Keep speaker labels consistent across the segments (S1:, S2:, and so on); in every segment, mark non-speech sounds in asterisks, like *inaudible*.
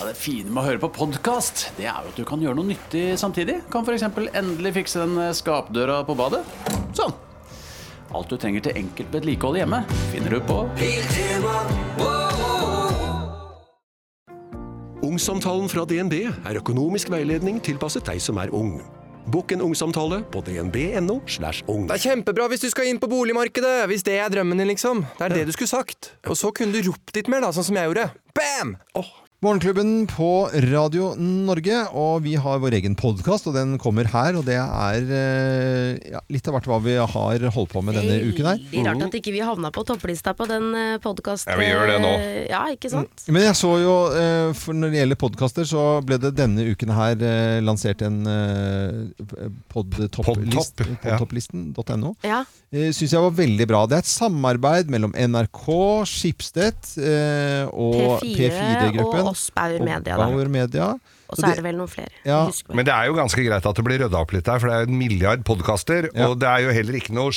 S1: Ja, det fine med å høre på podkast, det er jo at du kan gjøre noe nyttig samtidig. Kan f.eks. endelig fikse den eh, skapdøra på badet. Sånn. Alt du trenger til enkelt vedlikehold hjemme, finner du på
S2: Ungsamtalen fra DNB er økonomisk veiledning tilpasset deg som er ung. Bokk en ungsamtale på dnb.no. slash ung.
S3: Det er kjempebra hvis du skal inn på boligmarkedet, hvis det er drømmen din, liksom. Det er det du skulle sagt. Og så kunne du ropt litt mer, da, sånn som jeg gjorde. Bam!
S4: Morgenklubben på Radio Norge, og vi har vår egen podkast, og den kommer her. Og det er eh, ja, litt av hvert hva vi har holdt på med denne uken her.
S5: Veldig rart at ikke vi havna på topplista på den podkasten.
S6: Ja, vi gjør det nå.
S5: Ja, ikke sant?
S4: Men jeg så jo, eh, for når det gjelder podkaster, så ble det denne uken her eh, lansert en eh,
S6: Podtopp,
S4: podtopplist-
S6: ja.
S4: podtopplisten.no.
S5: Ja.
S4: Eh, Syns jeg var veldig bra. Det er et samarbeid mellom NRK, Skipstedt eh, og
S5: P4 og
S4: P4-gruppen.
S5: oss Bauer Media, da.
S4: Bauer Media.
S5: Og så er det vel noen flere.
S4: Ja.
S5: Jeg husker ikke.
S6: Men det er jo ganske greit at det blir rydda opp litt der, for det er jo en milliard podkaster,
S4: Ja.
S6: og det er jo heller ikke noe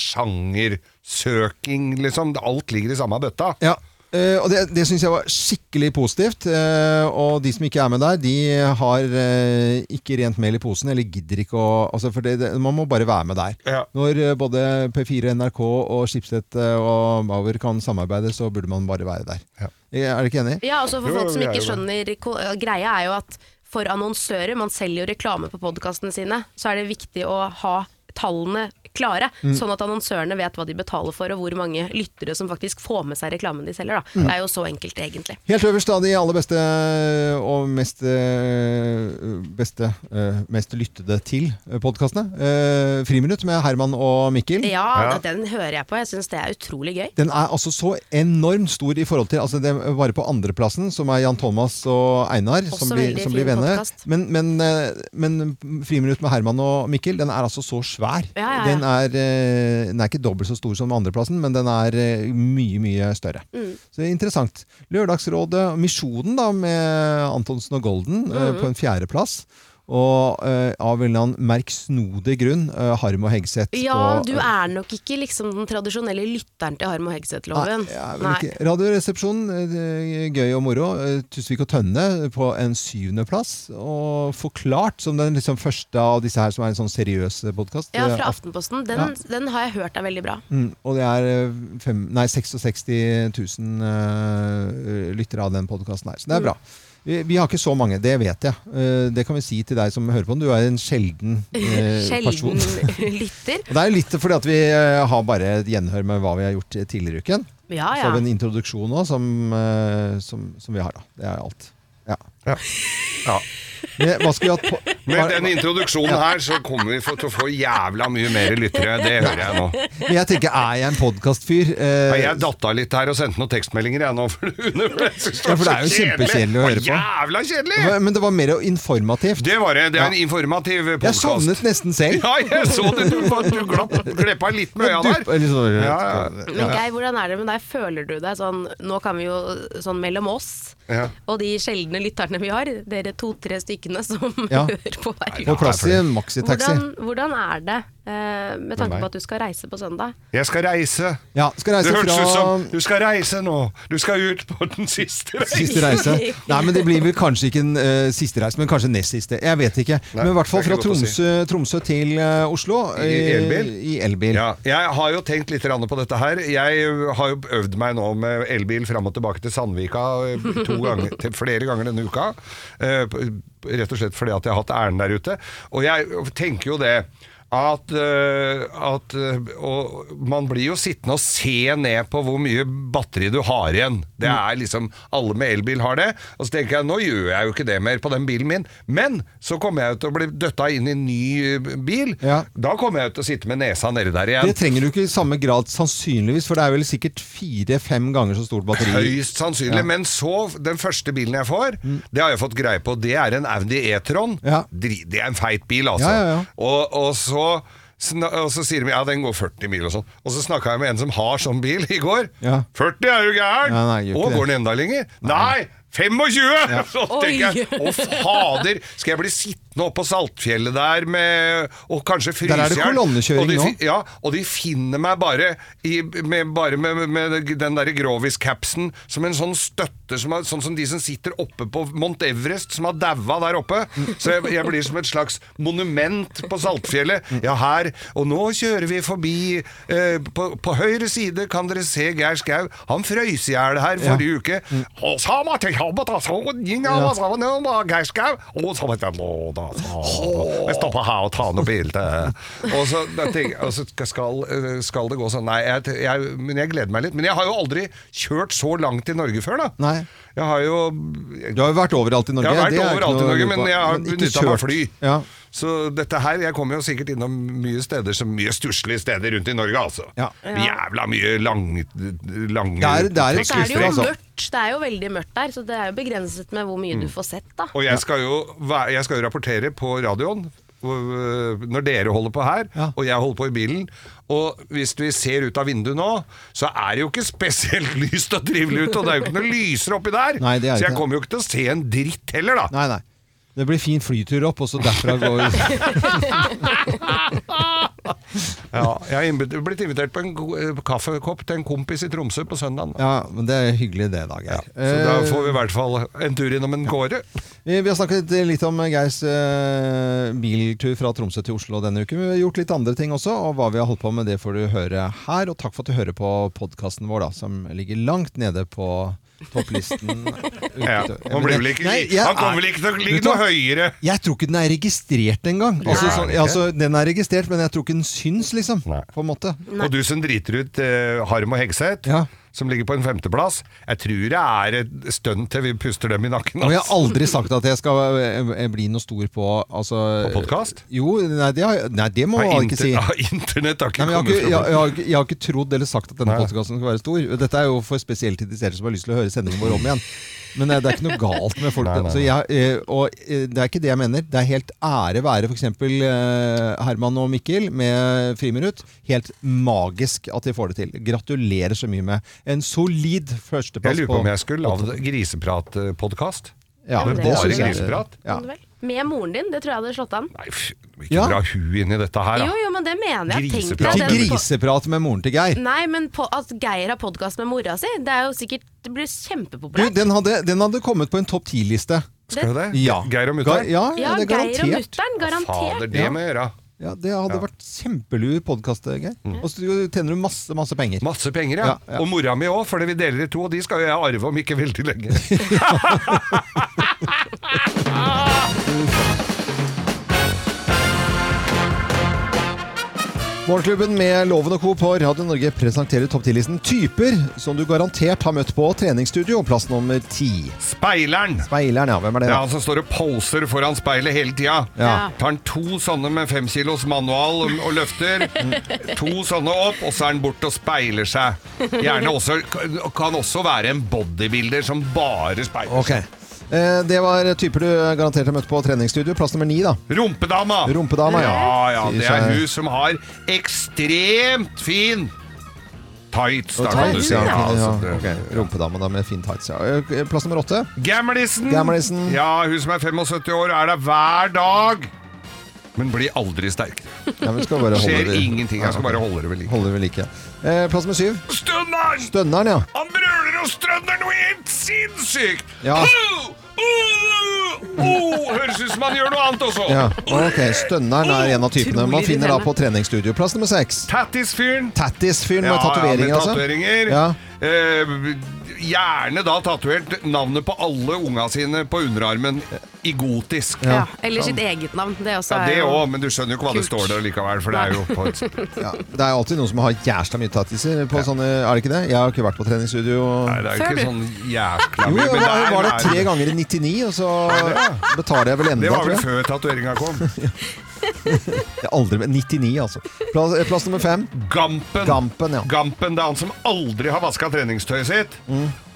S6: sjangersøking, liksom. Alt ligger i samme bøtta.
S4: Ja, eh, og det, det syns jeg var skikkelig positivt. eh, og de som ikke er med der, de har eh, ikke rent mel i posen, eller gidder ikke å altså for det, det, Man må bare være med der.
S6: Ja.
S4: Når eh, både P4, NRK og Schibsted eh, og Bauer kan samarbeide, så burde man bare være der. Eh,
S6: Ja.
S4: Er dere ikke enig?
S5: Ja, altså for
S6: Jo,
S5: folk som
S6: vi er
S5: ikke
S6: jo
S5: skjønner ko- eh, Greia er jo at for annonsører, man selger jo reklame på podkastene sine, så er det viktig å ha tallene klare, sånn at annonsørene vet hva de betaler for, og hvor mange lyttere som faktisk får med seg reklamen de selger. Da. Det er jo så enkelt, egentlig.
S4: Helt øverst da, de aller beste og mest, eh, beste, eh, mest lyttede til podkastene. Eh, Friminutt med Herman og Mikkel.
S5: Ja,
S6: Ja.
S5: det- den hører jeg på. Jeg syns det er utrolig gøy.
S4: Den er altså så enormt stor i forhold til altså det er Bare på andreplassen, som er Jan Thomas og Einar, som blir,
S5: veldig
S4: som blir
S5: fin
S4: venner.
S5: podcast.
S4: Men, men, eh, men Friminutt med Herman og Mikkel, den er altså så svær.
S5: Ja, ja, ja.
S4: Den, er, eh, den er ikke dobbelt så stor som andreplassen, men den er eh, mye, mye større.
S5: Mm.
S4: Så det er interessant. Lørdagsrådet og Misjonen, da, med Antonsen og Golden, eh,
S5: Mm.
S4: på en fjerdeplass. Og eh, av en eller annen merksnodig grunn, eh, Harm og Hegseth
S5: Ja,
S4: på
S5: du er nok ikke liksom den tradisjonelle lytteren til Harm og Hegseth-loven.
S4: Nei, jeg vil ikke. Radioresepsjonen, eh, gøy og moro. Eh, Tusvik og Tønne på en syvendeplass. Og Forklart som den liksom første av disse her som er en sånn seriøs podkast.
S5: Ja, fra Aftenposten. Den, den har jeg hørt er veldig bra.
S4: Mm, og det er eh, fem, nei, 66 000 eh, lyttere av den podkasten her, så det er bra. Vi, vi har ikke så mange, det vet jeg. Eh, det kan vi si til deg som hører på den. Du er en
S5: *laughs*
S4: sjelden eh, person.
S5: Sjelden *laughs* lytter.
S4: Og det er litt fordi at vi eh, har bare et gjenhør med hva vi har gjort eh, tidligere i uken. Så
S5: Ja, Ah, ja.
S4: har vi en introduksjon nå som, eh, som, som vi har, da. Det er alt. Ja.
S6: Ja.
S4: Men Hva skulle vi hatt på
S6: Med
S4: hva-
S6: den introduksjonen her, så kommer vi for- til å få jævla mye mer lyttere. Det hører jeg nå.
S4: Men jeg tenker, er jeg en Eh, podkastfyr?
S6: Nei, Jeg datta litt her og sendte noen tekstmeldinger, jeg nå. For det,
S4: Ja, for det er jo kjempekjedelig å høre på.
S6: Jævla kjedelig!
S4: Men det var mer informativt.
S6: Det var det. Det er en
S4: Ja.
S6: informativ
S4: Jeg
S6: podkast.
S4: sovnet nesten selv.
S6: Ja, jeg så det! Du, du glapp, gleppa litt med øya
S4: Dupp-
S6: der.
S4: eller sånn-
S6: Ja, ja.
S5: Men Geir, hvordan er det med deg? Føler du deg sånn Nå kan vi jo sånn mellom oss
S6: Ja.
S5: og de sjeldne lytterne vi har, dere to-tre stykkene som *laughs*
S4: Ja.
S5: hører på hver
S4: På
S5: uke.
S4: plass i en maxitaxi.
S5: Hvordan, hvordan er det, eh, med tanke
S6: meg?
S5: på at du skal reise på søndag?
S6: Jeg skal reise.
S4: Ja, skal
S6: Det
S4: reise
S6: hørtes ut som
S4: fra
S6: Du skal reise nå! Du skal ut på den siste reisen!
S4: Siste reise. Nei, men det blir vel kanskje ikke en eh, siste reise, men kanskje nest siste. Jeg vet ikke.
S6: Nei,
S4: men i hvert fall
S6: det er
S4: fra
S6: ikke godt å si.
S4: Tromsø, Tromsø til eh, Oslo. eh,
S6: I elbil?
S4: I elbil.
S6: Ja, jeg har jo tenkt litt grann på dette her. Jeg har jo øvd meg nå med elbil fram og tilbake til Sandvika eh, to
S4: *laughs*
S6: ganger, til flere ganger denne uka. Eh, p- Rett og slett fordi at jeg har hatt ærend der ute. Og jeg tenker jo det at, eh, at eh, og Man blir jo sittende og se ned på hvor mye batteri du har igjen. Det
S4: Mm.
S6: er liksom Alle med elbil har det. Og så tenker jeg nå gjør jeg jo ikke det mer på den bilen min. Men så kommer jeg jo til å bli døtta inn i en ny eh, bil.
S4: Ja.
S6: Da kommer jeg til å sitte med nesa nedi der igjen.
S4: Det trenger du ikke i samme grad sannsynligvis, for det er vel sikkert fire-fem ganger så stort batteri.
S6: Høyst sannsynlig.
S4: Ja. Mm.
S6: Men så, den første bilen jeg får, det har jeg fått greie på, det er en Audi E-tron.
S4: Ja.
S6: Dri- Det er en feit bil, altså.
S4: Ja, ja, ja.
S6: Og, og så sna- og så sier de ja, den går 40 mil og sånn. Og så snakka jeg med en som har sånn bil i går.
S4: Ja.
S6: 40 er jo gæren!
S4: Ja, nei, gjør ikke
S6: og
S4: det.
S6: går den enda lenger? Nei! 25! *laughs* Så
S5: Oi.
S6: tenker jeg, å fader, skal jeg bli sitt Flåtten opp på Saltfjellet der med Og kanskje frysjern.
S4: Der er det kolonnekjøring
S6: og de,
S4: nå.
S6: fi- Ja, og de finner meg bare, i, med, bare med, med den derre Grovis-capsen som en sånn støtte, som er, sånn som de som sitter oppe på Mount Everest, som har daua der oppe. Så jeg, jeg blir som et slags monument på Saltfjellet. Ja, her. Og nå kjører vi forbi eh, på, på høyre side kan dere se Geir Skau. Han frøys i hjel her forrige uke. Og så måtte jeg jobbe, da, så ingen av oss var noe med Geir Skau. Og så måtte jeg lå, da, så- Jeg stopper her og tar noe bilde. Og så da tenker jeg, altså, skal, eh, skal det gå sånn? Nei, jeg, jeg, men jeg gleder meg litt. Men jeg har jo aldri kjørt så langt i Norge før, da.
S4: Nei.
S6: Jeg har jo
S4: Du har jo vært overalt i Norge.
S6: jeg har vært
S4: det er ikke
S6: overalt i
S4: noe å
S6: Norge,
S4: lure på.
S6: men jeg har
S4: Men ikke
S6: benytta meg av
S4: kjørt.
S6: fly.
S4: Ja.
S6: Så dette her, jeg kommer jo sikkert innom mye steder som mye stusslige steder rundt i Norge, altså.
S4: Ja.
S6: Jævla mye lang, lange
S4: Det er- det er et
S5: Og så er det jo
S4: altså.
S5: mørkt. Det er jo veldig mørkt der, så det er jo begrenset med hvor mye
S4: Mm.
S5: du får sett, da.
S6: Og jeg skal, jo, væ- jeg skal jo rapportere på radioen øh, når dere holder på her,
S4: Ja.
S6: og jeg holder på i bilen. Og hvis vi ser ut av vinduet nå, så er det jo ikke spesielt *laughs* lyst og trivelig ute. Og det er jo ikke noe lysere oppi der.
S4: Nei, det
S6: så
S4: er ikke det.
S6: jeg kommer jo ikke til å se en dritt heller, da.
S4: Nei, nei. Det blir fin flytur opp, og så derfra går
S6: *laughs* Ja, jeg har invit blitt invitert på en go- eh, kaffekopp til en kompis i Tromsø på søndag.
S4: Ja, men det er hyggelig det, da, Geir. Eh,
S6: Så da får vi i hvert fall en tur innom en gårde.
S4: Vi vi har snakket litt om Geirs eh, biltur fra Tromsø til Oslo denne uken. Men vi har gjort litt andre ting også, og hva vi har holdt på med, det får du høre her. Og takk for at du hører på podkasten vår, da, som ligger langt nede på topplisten.
S6: *laughs* Ja, han, blir vel ikke,
S4: Nei, jeg
S6: han
S4: er-
S6: kommer vel ikke til å ligge
S4: Vet du
S6: noe
S4: hva?
S6: høyere.
S4: Jeg tror ikke den er registrert engang. Altså,
S6: Nei.
S4: sånn, altså, den er registrert, men jeg tror ikke den syns, liksom.
S6: Nei.
S4: På en måte.
S6: Og du som driter ut eh, Harm og Hegseth,
S4: Ja.
S6: som ligger på en femteplass. Jeg tror det er et stønn til vi puster dem i nakken.
S4: Og jeg
S6: ass.
S4: har aldri sagt at jeg skal eh, bli noe stor på altså,
S6: På podcast?
S4: Jo, nei det, har, jeg- nei, det må
S6: Ja,
S4: man
S6: inter-
S4: ikke si.
S6: ja, Internett har ikke
S4: Nei, men jeg, har
S6: kommet
S4: ikke, jeg,
S6: fra
S4: jeg, har, ikke- jeg har ikke trodd eller sagt at denne
S6: Nei.
S4: podkasten skal være stor. Dette er jo for spesielt interesserte som har lyst til å høre sendingen vår om igjen. Men eh, det er ikke noe galt med folk.
S6: Nei, nei,
S4: Så jeg, eh, og eh, Det er ikke det jeg mener. Det er helt ære være f.eks. Herman og Mikkel med Friminutt. Helt magisk at de får det til. Gratulerer så mye med en solid førsteplass.
S6: Jeg lurer på om
S4: på-
S6: jeg skulle lagd griseprat-podkast.
S4: ja,
S5: Men
S4: det
S5: bare
S4: synes jeg-
S6: griseprat?
S4: Ja.
S5: Kan du vel? Med moren din, det tror jeg hadde slått an.
S6: Nei, fy, ikke
S4: Ja.
S6: dra hu inn i dette her,
S5: Jo,
S6: da.
S5: jo, men det mener jeg. Tenk deg
S6: Griseprat.
S4: Ikke
S5: den på-
S4: griseprat med moren til Geir.
S5: Nei, men på, at Geir har podkast med mora si, det er jo sikkert Det blir
S4: Du,
S5: kjempepopulært.
S4: den hadde, den hadde kommet på en topp ti-liste.
S6: Skal det?
S4: Ja.
S6: Geir og
S4: Ga-
S6: mutter'n?
S4: Ja,
S5: ja,
S4: ja, det er
S5: Geir og
S4: garantert.
S5: mutter'n, garantert.
S6: Fader, det
S4: Ja.
S6: må jeg gjøre.
S4: Ja, Mm. Det hadde vært kjempelur podkast, Geir. Og så tjener du masse, masse penger.
S6: Masse penger, ja.
S4: Ja, ja.
S6: Og mora mi òg, for vi deler i to, og de skal jo jeg arve om ikke veldig lenge.
S4: Morgenklubben med Loven og Co. på Radio Norge presenterer topp 10-listen typer som du garantert har møtt på treningsstudio, plass nummer ti.
S6: Speileren!
S4: *laughs* Speileren, ja. Hvem er
S6: Det
S4: det?
S6: er
S4: da?
S6: han som står og poser foran speilet hele tida.
S4: Ja.
S6: Tar han to sånne med fem kilos manual og, og løfter.
S4: *laughs*
S6: To sånne opp, og så er han bort og speiler seg. Gjerne også Kan også være en bodybuilder som bare speiler.
S4: Ok. Eh, Det var typer du garantert har møtt på treningsstudio, plass nummer ni, da.
S6: Rumpedama!
S4: Rumpedama, ja.
S6: Ja, ja,
S4: Sier
S6: det er
S4: seg-
S6: hun som har ekstremt fin tights, da
S4: Og
S6: kan du
S4: tights,
S6: si.
S4: ja,
S6: Ja,
S4: fin- ja.
S6: altså, det-
S4: ok. Rumpedama da med fin tights, ja. Eh, Plass nummer åtte.
S6: Gamlisen.
S4: Gamlisen.
S6: Ja, hun som er 75 år, er der hver dag. Men blir aldri sterkere.
S4: Ja, men skal bare holde
S6: Skjer
S4: det-
S6: ingenting. Jeg skal
S4: Ja,
S6: bare
S4: ok.
S6: holde det ved like.
S4: Holder ved like. Eh, Plass nummer syv.
S6: Stønneren!
S4: Dønneren, ja.
S6: Han brøler og strønner noe helt sinnssykt!
S4: Ja.
S6: Oh, oh, oh. Høres ut som han gjør noe annet også.
S4: Ja, ok, Stønneren er en av typene man finner da på treningsstudio. Plass nummer seks.
S6: Tattis-fyren.
S4: Tattis-fyren med tatoveringer,
S6: med
S4: altså.
S6: tatoveringer.
S4: Ja.
S6: Eh, gjerne da tatovert navnet på alle unga sine på underarmen i gotisk.
S5: Ja, eller sitt
S4: Sånn.
S5: eget navn. Det også
S6: Ja,
S5: er
S6: det
S5: jo
S6: òg, men du skjønner jo ikke hva det
S5: Kult.
S6: står der likevel, for det er jo på
S5: *laughs*
S6: et
S4: Ja, det er alltid noen som har jævla mye tattiser på sånne, er det ikke det? Jeg har ikke vært på treningsstudio.
S6: Nei, det er jo
S5: Før
S6: ikke
S5: du-
S6: sånn jæskla
S4: Jo,
S6: mye,
S4: jeg
S6: men
S4: var,
S6: der
S4: var det
S6: er
S4: tre ganger i 99, og så betaler jeg vel enda,
S6: Det var
S4: tror
S6: vel
S4: jeg.
S6: før tatoveringa kom.
S4: *laughs* Jeg har Aldri, men 99, altså. Plass, eh, plass nummer fem.
S6: Gampen.
S4: Gampen, ja. Mm.
S6: Gampen, det er han som aldri har vaska treningstøyet sitt.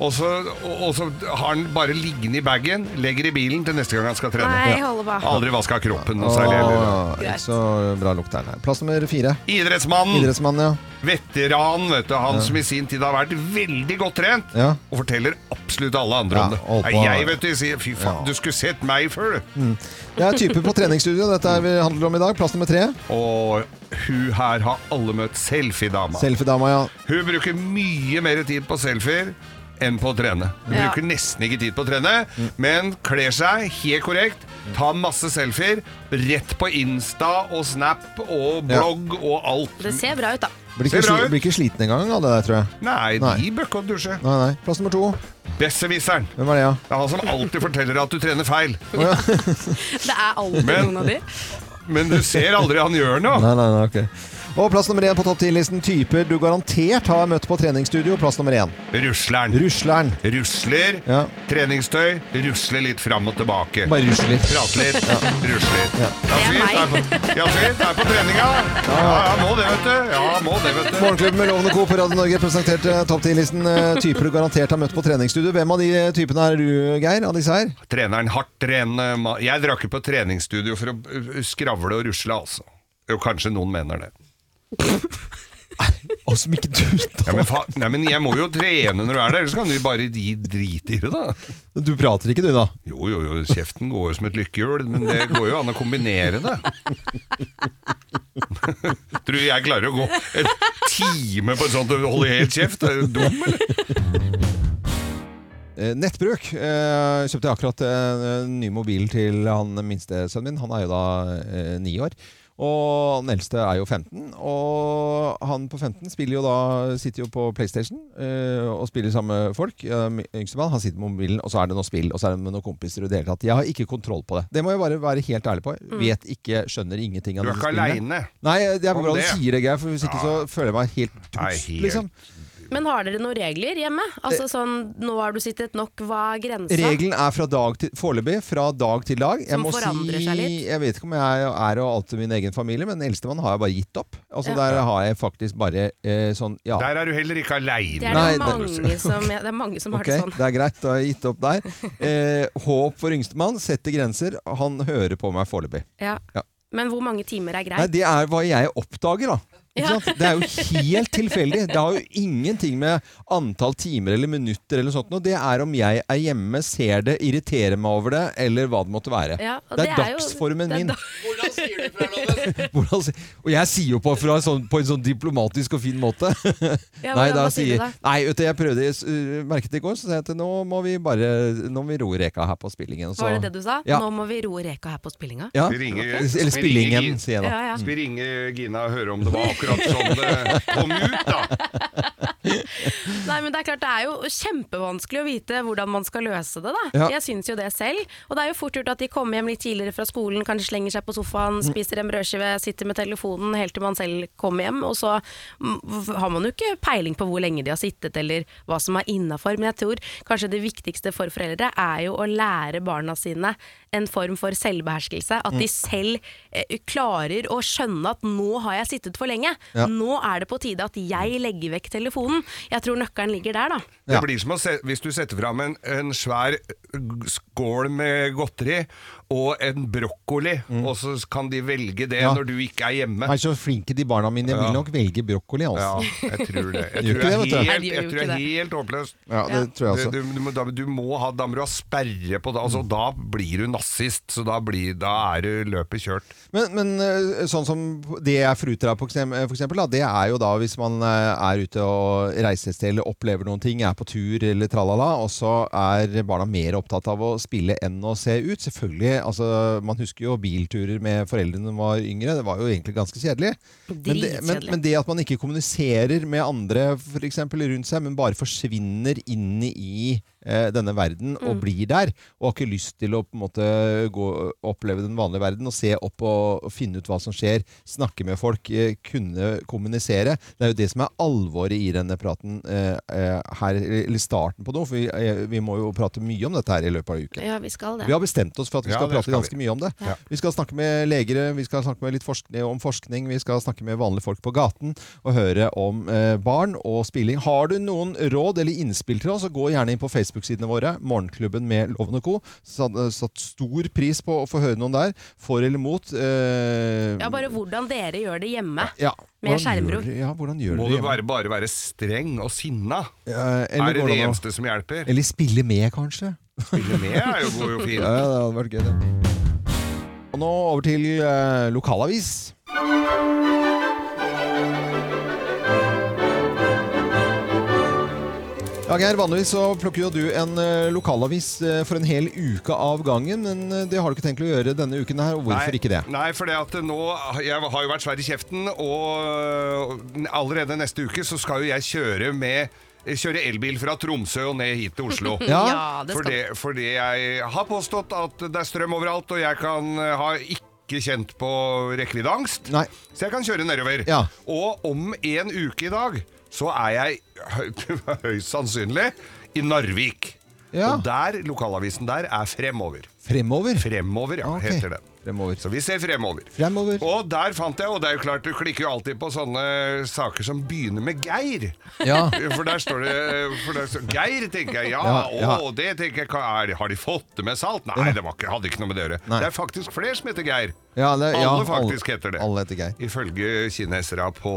S6: Og så, og, og så har han bare liggende i bagen, legger i bilen til neste gang han skal trene.
S5: Nei,
S6: Ja.
S5: holde på.
S6: Aldri vaska kroppen noe særlig. heller.
S4: Åh,
S5: Greit.
S4: ikke så bra lukt der, nei. Plass nummer fire.
S6: Idrettsmannen,
S4: Idrettsmann, ja.
S6: veteran, vet du, han som i sin tid har vært veldig godt trent,
S4: Ja.
S6: og forteller absolutt alle andre
S4: Ja,
S6: om det.
S4: holdt
S6: Nei,
S4: på. Mm.
S6: jeg, vet du, sier fy faen, du skulle sett meg før, du.
S4: Det er typer på treningsstudio dette er vi handler om i dag. Plass nummer tre.
S6: Og hun her har alle møtt selfiedama.
S4: Selfiedama, ja.
S6: Hun bruker mye mer tid på selfier enn på å trene. Hun
S5: Ja.
S6: bruker nesten ikke tid på å trene, men kler seg helt korrekt. Tar masse selfier rett på Insta og Snap og
S4: Ja.
S6: blogg og alt.
S5: Det ser bra ut, da.
S4: Blir ikke,
S6: Ser bra
S4: sli,
S6: ut.
S4: blir ikke sliten engang av det der, tror jeg.
S6: Nei,
S4: Nei.
S6: de bør ikke dusje.
S4: Nei, nei. Plass nummer to.
S6: Besserwisseren.
S4: Hvem er det, ja?
S6: Det er han som alltid forteller at du trener feil.
S5: Det er alltid
S6: Men-
S5: noen av de.
S6: Men du ser aldri han gjør noe.
S4: Nei, nei, nei, ok. Og plass nummer én på topp 10-listen typer du garantert har møtt på treningsstudio. Plass nummer én.
S6: Rusleren.
S4: Rusleren.
S6: Rusler.
S4: Ja.
S6: Treningstøy. Rusler litt fram og tilbake.
S4: Bare rusler.
S6: Prate litt, rusle litt. Ja,
S5: Det er
S6: fint, er på, ja, fint, er på treninga. Ja, ja, må det, vet du. Ja, må det, vet du.
S4: Morgenklubben med Lovende Co. på Radio Norge presenterte topp 10-listen eh, typer du garantert har møtt på treningsstudio. Hvem av de eh, typene er du, Geir? Av disse her?
S6: Treneren hardt trenende ma- Jeg drar ikke på treningsstudio for å uh, skravle og rusle, altså. Jo, kanskje noen mener det.
S4: Og som ikke du *laughs*
S6: Ja, men, fa Nei, men jeg må jo trene når du er der, ellers kan du bare gi drit i det, da.
S4: Du prater ikke, du, da?
S6: Jo, jo, jo, kjeften går jo som et lykkehjul, men det går jo an å kombinere det. *laughs* Tror du jeg klarer å gå en time på et sånt og holde helt kjeft? Er du dum, eller?
S4: Eh, Nettbruk. Eh, kjøpte jeg akkurat eh, en ny mobil til han minste sønnen min. Han er jo da eh, ni år. Og den eldste er jo 15. Og han på 15 spiller jo da, sitter jo på PlayStation eh, og spiller sammen med folk. Eh, min yngste mann han sitter med mobilen, og så er det noe spill, og så er det med noen kompiser. og det hele tatt. Jeg har ikke kontroll på det. Det må jeg bare være helt ærlig på. Vet ikke, skjønner ingenting
S6: Du
S4: av
S6: er
S4: disse
S6: ikke
S4: spillene.
S6: aleine.
S4: Nei, det er
S6: Om
S4: bra du
S6: det.
S4: sier det, Geir, for hvis ikke så føler jeg meg helt
S6: Nei,
S4: dust,
S6: helt
S4: liksom.
S5: Men har dere noen regler hjemme? Altså sånn, Nå har du sittet nok, hva er grensa?
S4: Regelen er fra dag til, foreløpig fra dag til dag. Jeg
S5: Som
S4: må
S5: forandrer seg litt.
S4: Jeg vet ikke om jeg er og alt til min egen familie, men den eldste mann har jeg bare gitt opp. Altså Der har jeg faktisk bare eh, sånn Ja,
S6: Der er du heller ikke
S5: Det
S6: aleine.
S5: er,
S4: Nei,
S5: det, mange
S4: *laughs*
S5: som, det er mange som har
S4: ok,
S5: det sånn.
S4: det er greit. Da har jeg gitt opp
S5: *laughs*
S4: der. Eh, håp for yngstemann. Setter grenser. Han hører på meg foreløpig.
S5: Ja.
S4: Ja.
S5: Men hvor mange timer
S4: Nei,
S5: er greit?
S4: det er hva jeg oppdager, da. Ikke
S5: Ja.
S4: sant? Det er jo helt tilfeldig. Det har jo ingenting med antall timer eller minutter eller sånt noe. Det er om jeg er hjemme, ser det, irriterer meg over det, eller hva det måtte være.
S5: Ja, og
S4: det er,
S5: jo-
S4: dagsformen
S5: det er
S4: min.
S5: da-
S4: Hvordan si- og jeg sier jo på, fra sånn, på en sånn diplomatisk og fin måte. *laughs*
S5: Ja,
S4: nei,
S5: hvordan-
S4: da
S5: hva sier du
S4: sier
S5: da?
S4: Nei, vet du, jeg prøvde jeg s- øh, merket det i går, så sa jeg at nå må vi bare Nå må vi roe reka her på spillingen. og Så,
S5: Var det det du sa?
S4: Ja.
S5: Nå må vi roe reka her på spillinga.
S4: Ja. Eh,
S6: Vi ringer-
S4: Eller
S6: vi ringer
S4: spillingen,
S6: Gin.
S4: sier jeg da.
S5: Ja, ja.
S6: Skal vi ringe Gina og høre om det var akkurat sånn det kom ut, da?
S5: Nei, men Det er klart det er jo kjempevanskelig å vite hvordan man skal løse det. da
S4: Ja.
S5: Jeg syns jo det selv. Og det er jo fort gjort at de kommer hjem litt tidligere fra skolen, kanskje slenger seg på sofaen,
S4: Mm.
S5: spiser en brødskive, sitter med telefonen helt til man selv kommer hjem. Og så mm, v- har man jo ikke peiling på hvor lenge de har sittet eller hva som er innafor. Men jeg tror kanskje det viktigste for foreldre er jo å lære barna sine en form for selvbeherskelse. At
S4: Mm.
S5: de selv eh, klarer å skjønne at nå har jeg sittet for lenge.
S4: Ja.
S5: Nå er det på tide at jeg legger vekk telefonen. Jeg tror nøkkelen ligger der, da.
S6: Det
S4: Ja.
S6: blir som å se, hvis du setter fram en, en svær g- skål med godteri og en brokkoli, og så kan de velge det
S4: Mm. Ja.
S6: når du ikke er hjemme.
S4: Er så flinke de barna mine. Jeg vil
S6: Ja.
S4: nok velge brokkoli,
S6: Ja,
S4: altså.
S6: jeg tror det. Jeg
S4: Gjør
S6: tror
S4: ikke
S6: det
S4: det, vet du.
S6: er
S5: Nei,
S6: helt,
S5: de gjør
S6: jeg
S5: jo
S6: tror det
S5: ikke
S6: er
S5: det.
S6: helt håpløst.
S4: Ja, det tror
S6: Du,
S4: jeg også. Mm.
S6: du, du, må- da, du må ha, da må du ha sperre på det. Altså, da blir du nazist, så da, blir, da er du løpet kjørt.
S4: Men, men eh, sånn som det jeg fruter av, for eksem- eh, for eksempel, da, det er jo da hvis man eh, er ute og reiser et sted eller opplever noen ting, er på tur eller tralala, og så er barna mer opptatt av å spille enn å se ut. Selvfølgelig, altså, man husker jo bilturer med foreldrene når man var yngre, det var jo egentlig ganske kjedelig. Men det, men,
S5: Dritkjedelig.
S4: men det at man ikke kommuniserer med andre for eksempel, rundt seg, men bare forsvinner inn i eh, denne verden og blir der, og har ikke lyst til å på en måte gå, oppleve den vanlige verden og se opp og, og finne ut hva som skjer, snakke med folk, eh, kunne kommunisere. Det er jo det som er alvoret i denne praten eh, eh, her, eller starten på noe, for vi, eh, vi må jo prate mye om dette her i løpet av uken.
S5: Ja, vi skal det.
S4: Vi har bestemt oss for at vi
S6: Ja,
S4: skal
S6: det
S4: prate
S6: skal
S4: ganske mye om det.
S6: Ja.
S4: Vi skal snakke med leger, vi skal snakke med litt forskning, om forskning, vi skal snakke med vanlige folk på gaten og høre om eh, barn og spilling. Har du noen råd eller innspill til oss, så gå gjerne inn på Facebook-sidene våre, Morgenklubben med Loven og Co. Satt, eh, satt stor pris på å få høre noen der, for eller mot. eh,
S5: Ja, bare hvordan dere gjør det hjemme.
S4: ja,
S5: med
S4: hvordan gjør
S5: skjermrom.
S4: dere- Ja, hvordan gjør
S6: Må
S4: dere
S6: du
S4: hjemme?
S6: bare, bare være streng og sinna?
S4: Eh, eller
S6: Er det
S4: går
S6: det
S4: an å-
S6: eneste som hjelper?
S4: Eller spille med, kanskje?
S6: Spille med er jo god og fin.
S4: Ja, ja, det hadde vært gøy, det. Og nå over til eh, lokalavis. Ja, Geir, Vanligvis så plukker jo du en eh, lokalavis eh, for en hel uke av gangen, men eh, det har du ikke tenkt å gjøre denne uken her. og Hvorfor
S6: Nei,
S4: ikke det?
S6: Nei, for det at nå, jeg har jo vært svær i kjeften, og allerede neste uke så skal jo jeg kjøre med Kjøre elbil fra Tromsø og ned hit til Oslo.
S4: *laughs* Ja.
S5: det skal
S6: Fordi, fordi jeg har påstått at det er strøm overalt, og jeg kan eh, ha ikke kjent på rekkeviddeangst.
S4: Nei.
S6: Så jeg kan kjøre nedover.
S4: Ja.
S6: Og om en uke i dag så er jeg hø- *laughs* høyst sannsynlig i Narvik.
S4: Ja.
S6: Og der, lokalavisen der er Fremover.
S4: Fremover.
S6: Fremover, ja,
S4: Ok.
S6: heter den.
S4: Fremover.
S6: Så vi ser fremover.
S4: Fremover.
S6: Og der fant jeg, og det er jo klart du klikker jo alltid på sånne saker som begynner med Geir.
S4: Ja.
S6: For der står det for der står, Geir, tenker jeg. Ja,
S4: Ja, ja.
S6: å, det tenker jeg. hva Er, har de fått det med salt? Nei, det var ikke, hadde ikke noe med det å gjøre.
S4: Nei.
S6: Det er faktisk flere som heter Geir.
S4: Ja, det- ja,
S6: alle faktisk
S4: alle-
S6: heter det.
S4: alle heter Geir.
S6: Ifølge kinesere på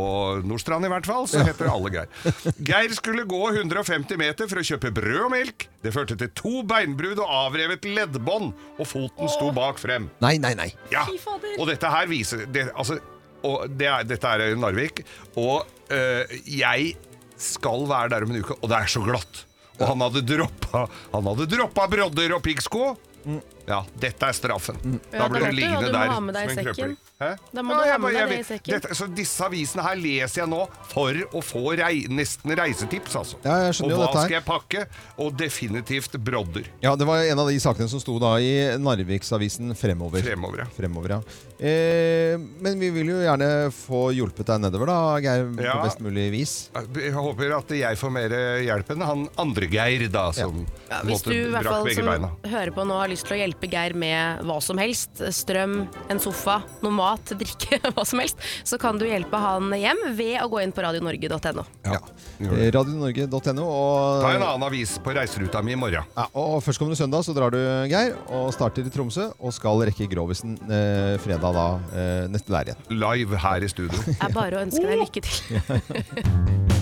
S6: Nordstrand i hvert fall, så heter alle
S4: *laughs*
S6: Geir. Geir skulle gå 150 meter for å kjøpe brød og melk. Det førte til to beinbrudd og avrevet leddbånd, og foten sto bak frem.
S4: Nei, nei, nei.
S6: Ja,
S5: Fy fader.
S6: og dette her viser det, altså, og det er, Dette er i Narvik Og øh, jeg skal være der om en uke Og det er så glatt Og han hadde droppa, han hadde droppa brodder og piggsko Mm. Ja, dette er straffen
S4: Mm.
S6: Da
S5: Ja,
S6: blir du
S5: da vet du hva
S6: liggende
S5: du må
S6: der
S5: ha med deg i
S6: som en
S5: sekken.
S6: krøpling. Hæ?
S5: Da må du
S6: jeg
S5: ha med
S6: bare- jeg
S5: deg det i
S6: vet-
S5: sekken.
S6: dette, Så disse avisene her leser jeg nå For å få rei, nesten reisetips altså.
S4: Ja, jeg
S6: Og
S4: skjønner jo
S6: hva
S4: dette her.
S6: skal jeg pakke? Og definitivt brodder
S4: Ja, Det var en av de sakene som sto da i Narviksavisen Fremover.
S6: Fremover, ja.
S4: Fremover, ja. Eh, men vi vil jo gjerne få hjulpet deg nedover, da, Geir,
S6: Ja.
S4: på best mulig vis.
S6: Jeg håper at jeg får mer hjelp enn han andre Geir, da, som på
S5: Ja,
S6: en
S5: hvis du
S6: måte
S5: i hvert
S6: brakk
S5: fall
S6: begge
S5: som
S6: beina.
S5: hører på nå har lyst til å hjelpe Geir med hva som helst, strøm, en sofa, noe mat, *laughs* drikke, hva som helst, så kan du hjelpe han hjem ved å gå inn på radionorge.no.
S4: Ja. Eh,
S6: gjør det.
S4: Radionorge.no.
S6: Ta en
S4: Og,
S6: annen avis på reiseruta mi i morgen.
S4: ja, og førstkommende søndag så drar du, Geir, og starter i Tromsø. Og skal rekke Grovisen eh, fredag da, eh, neste der igjen.
S6: Live her i
S4: *laughs*
S6: studio.
S5: Det er bare å ønske deg lykke til.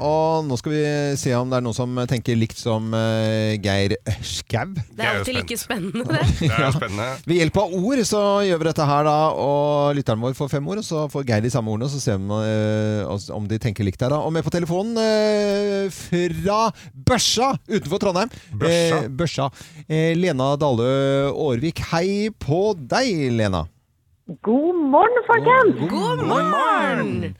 S4: Og nå skal vi se om det er noen som tenker likt som eh, Geir Skau.
S5: Det
S6: Jeg
S5: er
S6: er
S5: alltid
S6: jo
S5: like spennende, det.
S6: Det er spennende.
S4: Ved hjelp av ord så gjør vi dette her, da. Og lytteren vår får fem ord, og så får Geir de samme ordene. Og så ser vi eh, oss- om de tenker likt her, da. Og med på telefonen eh, fra Børsa utenfor Trondheim.
S6: Børsa?
S4: Eh, Børsa. Eh, Lena Dale Aarvik. Hei på deg, Lena.
S7: God morgen, folkens!
S5: God morgen!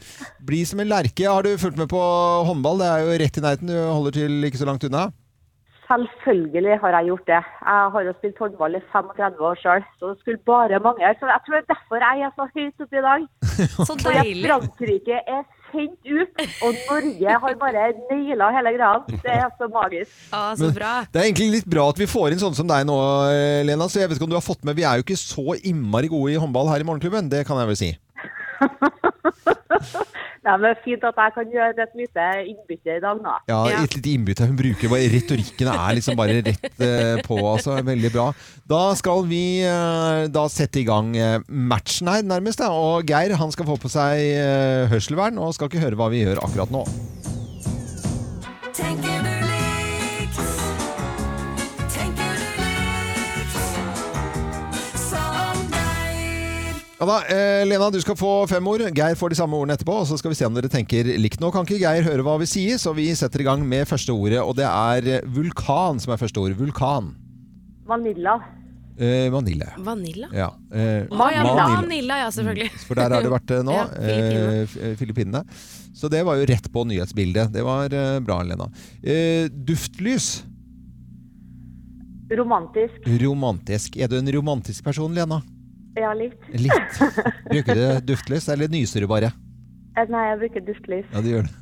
S4: Bli som en lerke. Har du fulgt med på håndball? Det er jo rett i nærheten. Du holder til ikke så langt unna.
S7: Selvfølgelig har jeg gjort det. Jeg har jo spilt håndball i 35 år sjøl, så det skulle bare mangle. Så jeg tror det er derfor jeg er så høyt oppe i dag.
S5: Så
S7: For at
S5: deilig.
S7: Frankrike er sendt ut, og Norge har bare naila hele greia. Det er så magisk.
S5: Ja, så bra.
S4: Det er egentlig litt bra at vi får inn sånne som deg nå, eh, Lena. Så jeg vet ikke om du har fått med Vi er jo ikke så innmari gode i håndball her i Morgenklubben. Det kan jeg vel si.
S7: Nei, men fint at jeg kan gjøre et lite innbytte i dag, da.
S4: Ja,
S5: Ja.
S4: et lite innbytte. Hun bruker bare retorikken er liksom bare rett eh, på. altså, Veldig bra. Da skal vi eh, da sette i gang eh, matchen her, nærmest. Da. Og Geir han skal få på seg eh, hørselvern og skal ikke høre hva vi gjør akkurat nå.
S8: Tenker du likt? Tenker du likt? Som deg?
S4: Ja da, eh, Lena, du skal få fem ord. Geir får de samme ordene etterpå. og Så skal vi se om dere tenker likt. Nå kan ikke Geir høre hva vi sier, så vi setter i gang med første ordet. Og det er eh, vulkan som er første ord. Vulkan.
S7: Vanilla.
S4: Eh, Vanille.
S5: Vanilla?
S4: Ja. Eh,
S5: Å ja,
S4: vanille.
S5: vanilla, ja selvfølgelig.
S4: For der har det vært eh, nå.
S5: *laughs* Ja, Filippinene.
S4: eh, F- eh, Filippinene. Så det var jo rett på nyhetsbildet. Det var eh, bra, Lena. Eh, duftlys.
S7: Romantisk.
S4: Romantisk. Er du en romantisk person, Lena?
S7: Ja, litt.
S4: Litt. Bruker du duftlys, eller nyser du bare?
S7: Eh, Nei, jeg bruker duftlys.
S4: Ja, det
S5: *laughs*
S4: gjør det.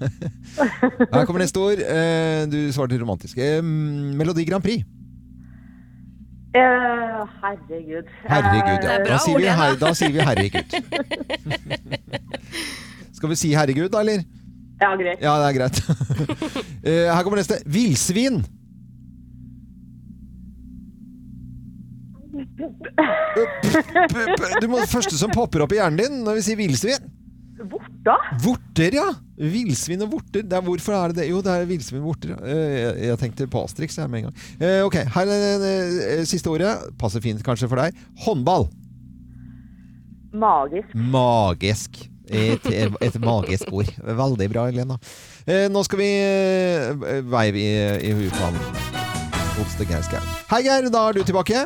S4: Her kommer neste ord. Eh, Du svarte romantisk. Eh, Melodi Grand Prix.
S7: Eh, herregud.
S4: Herregud, ja.
S5: Det er bra
S4: Da sier
S5: ord,
S4: vi,
S5: det, da.
S4: her, da sier vi
S5: *laughs*
S4: herregud. Skal vi si herregud, da, eller?
S7: Eh, Ja, greit.
S4: Ja, det er greit. *laughs* Eh, Her kommer neste.
S5: *laughs*
S4: Villsvin. Du må første som popper opp i hjernen din når vi sier villsvin.
S7: Vorta?
S4: Vorter, ja! Villsvin og vorter. Det er, hvorfor er det det? Jo, det er villsvin og vorter. ja. Eh, Jeg, jeg tenkte på Asterix jeg, med en gang. Eh, ok, her er det eh, siste ordet. Passer fint kanskje for deg. Håndball.
S7: Magisk.
S4: Magisk. Et, et magisk ord. Veldig bra, Helena. Eh, nå skal vi eh, veive i, i huet hos det Geir Skau. Hei, Geir. Da er du tilbake.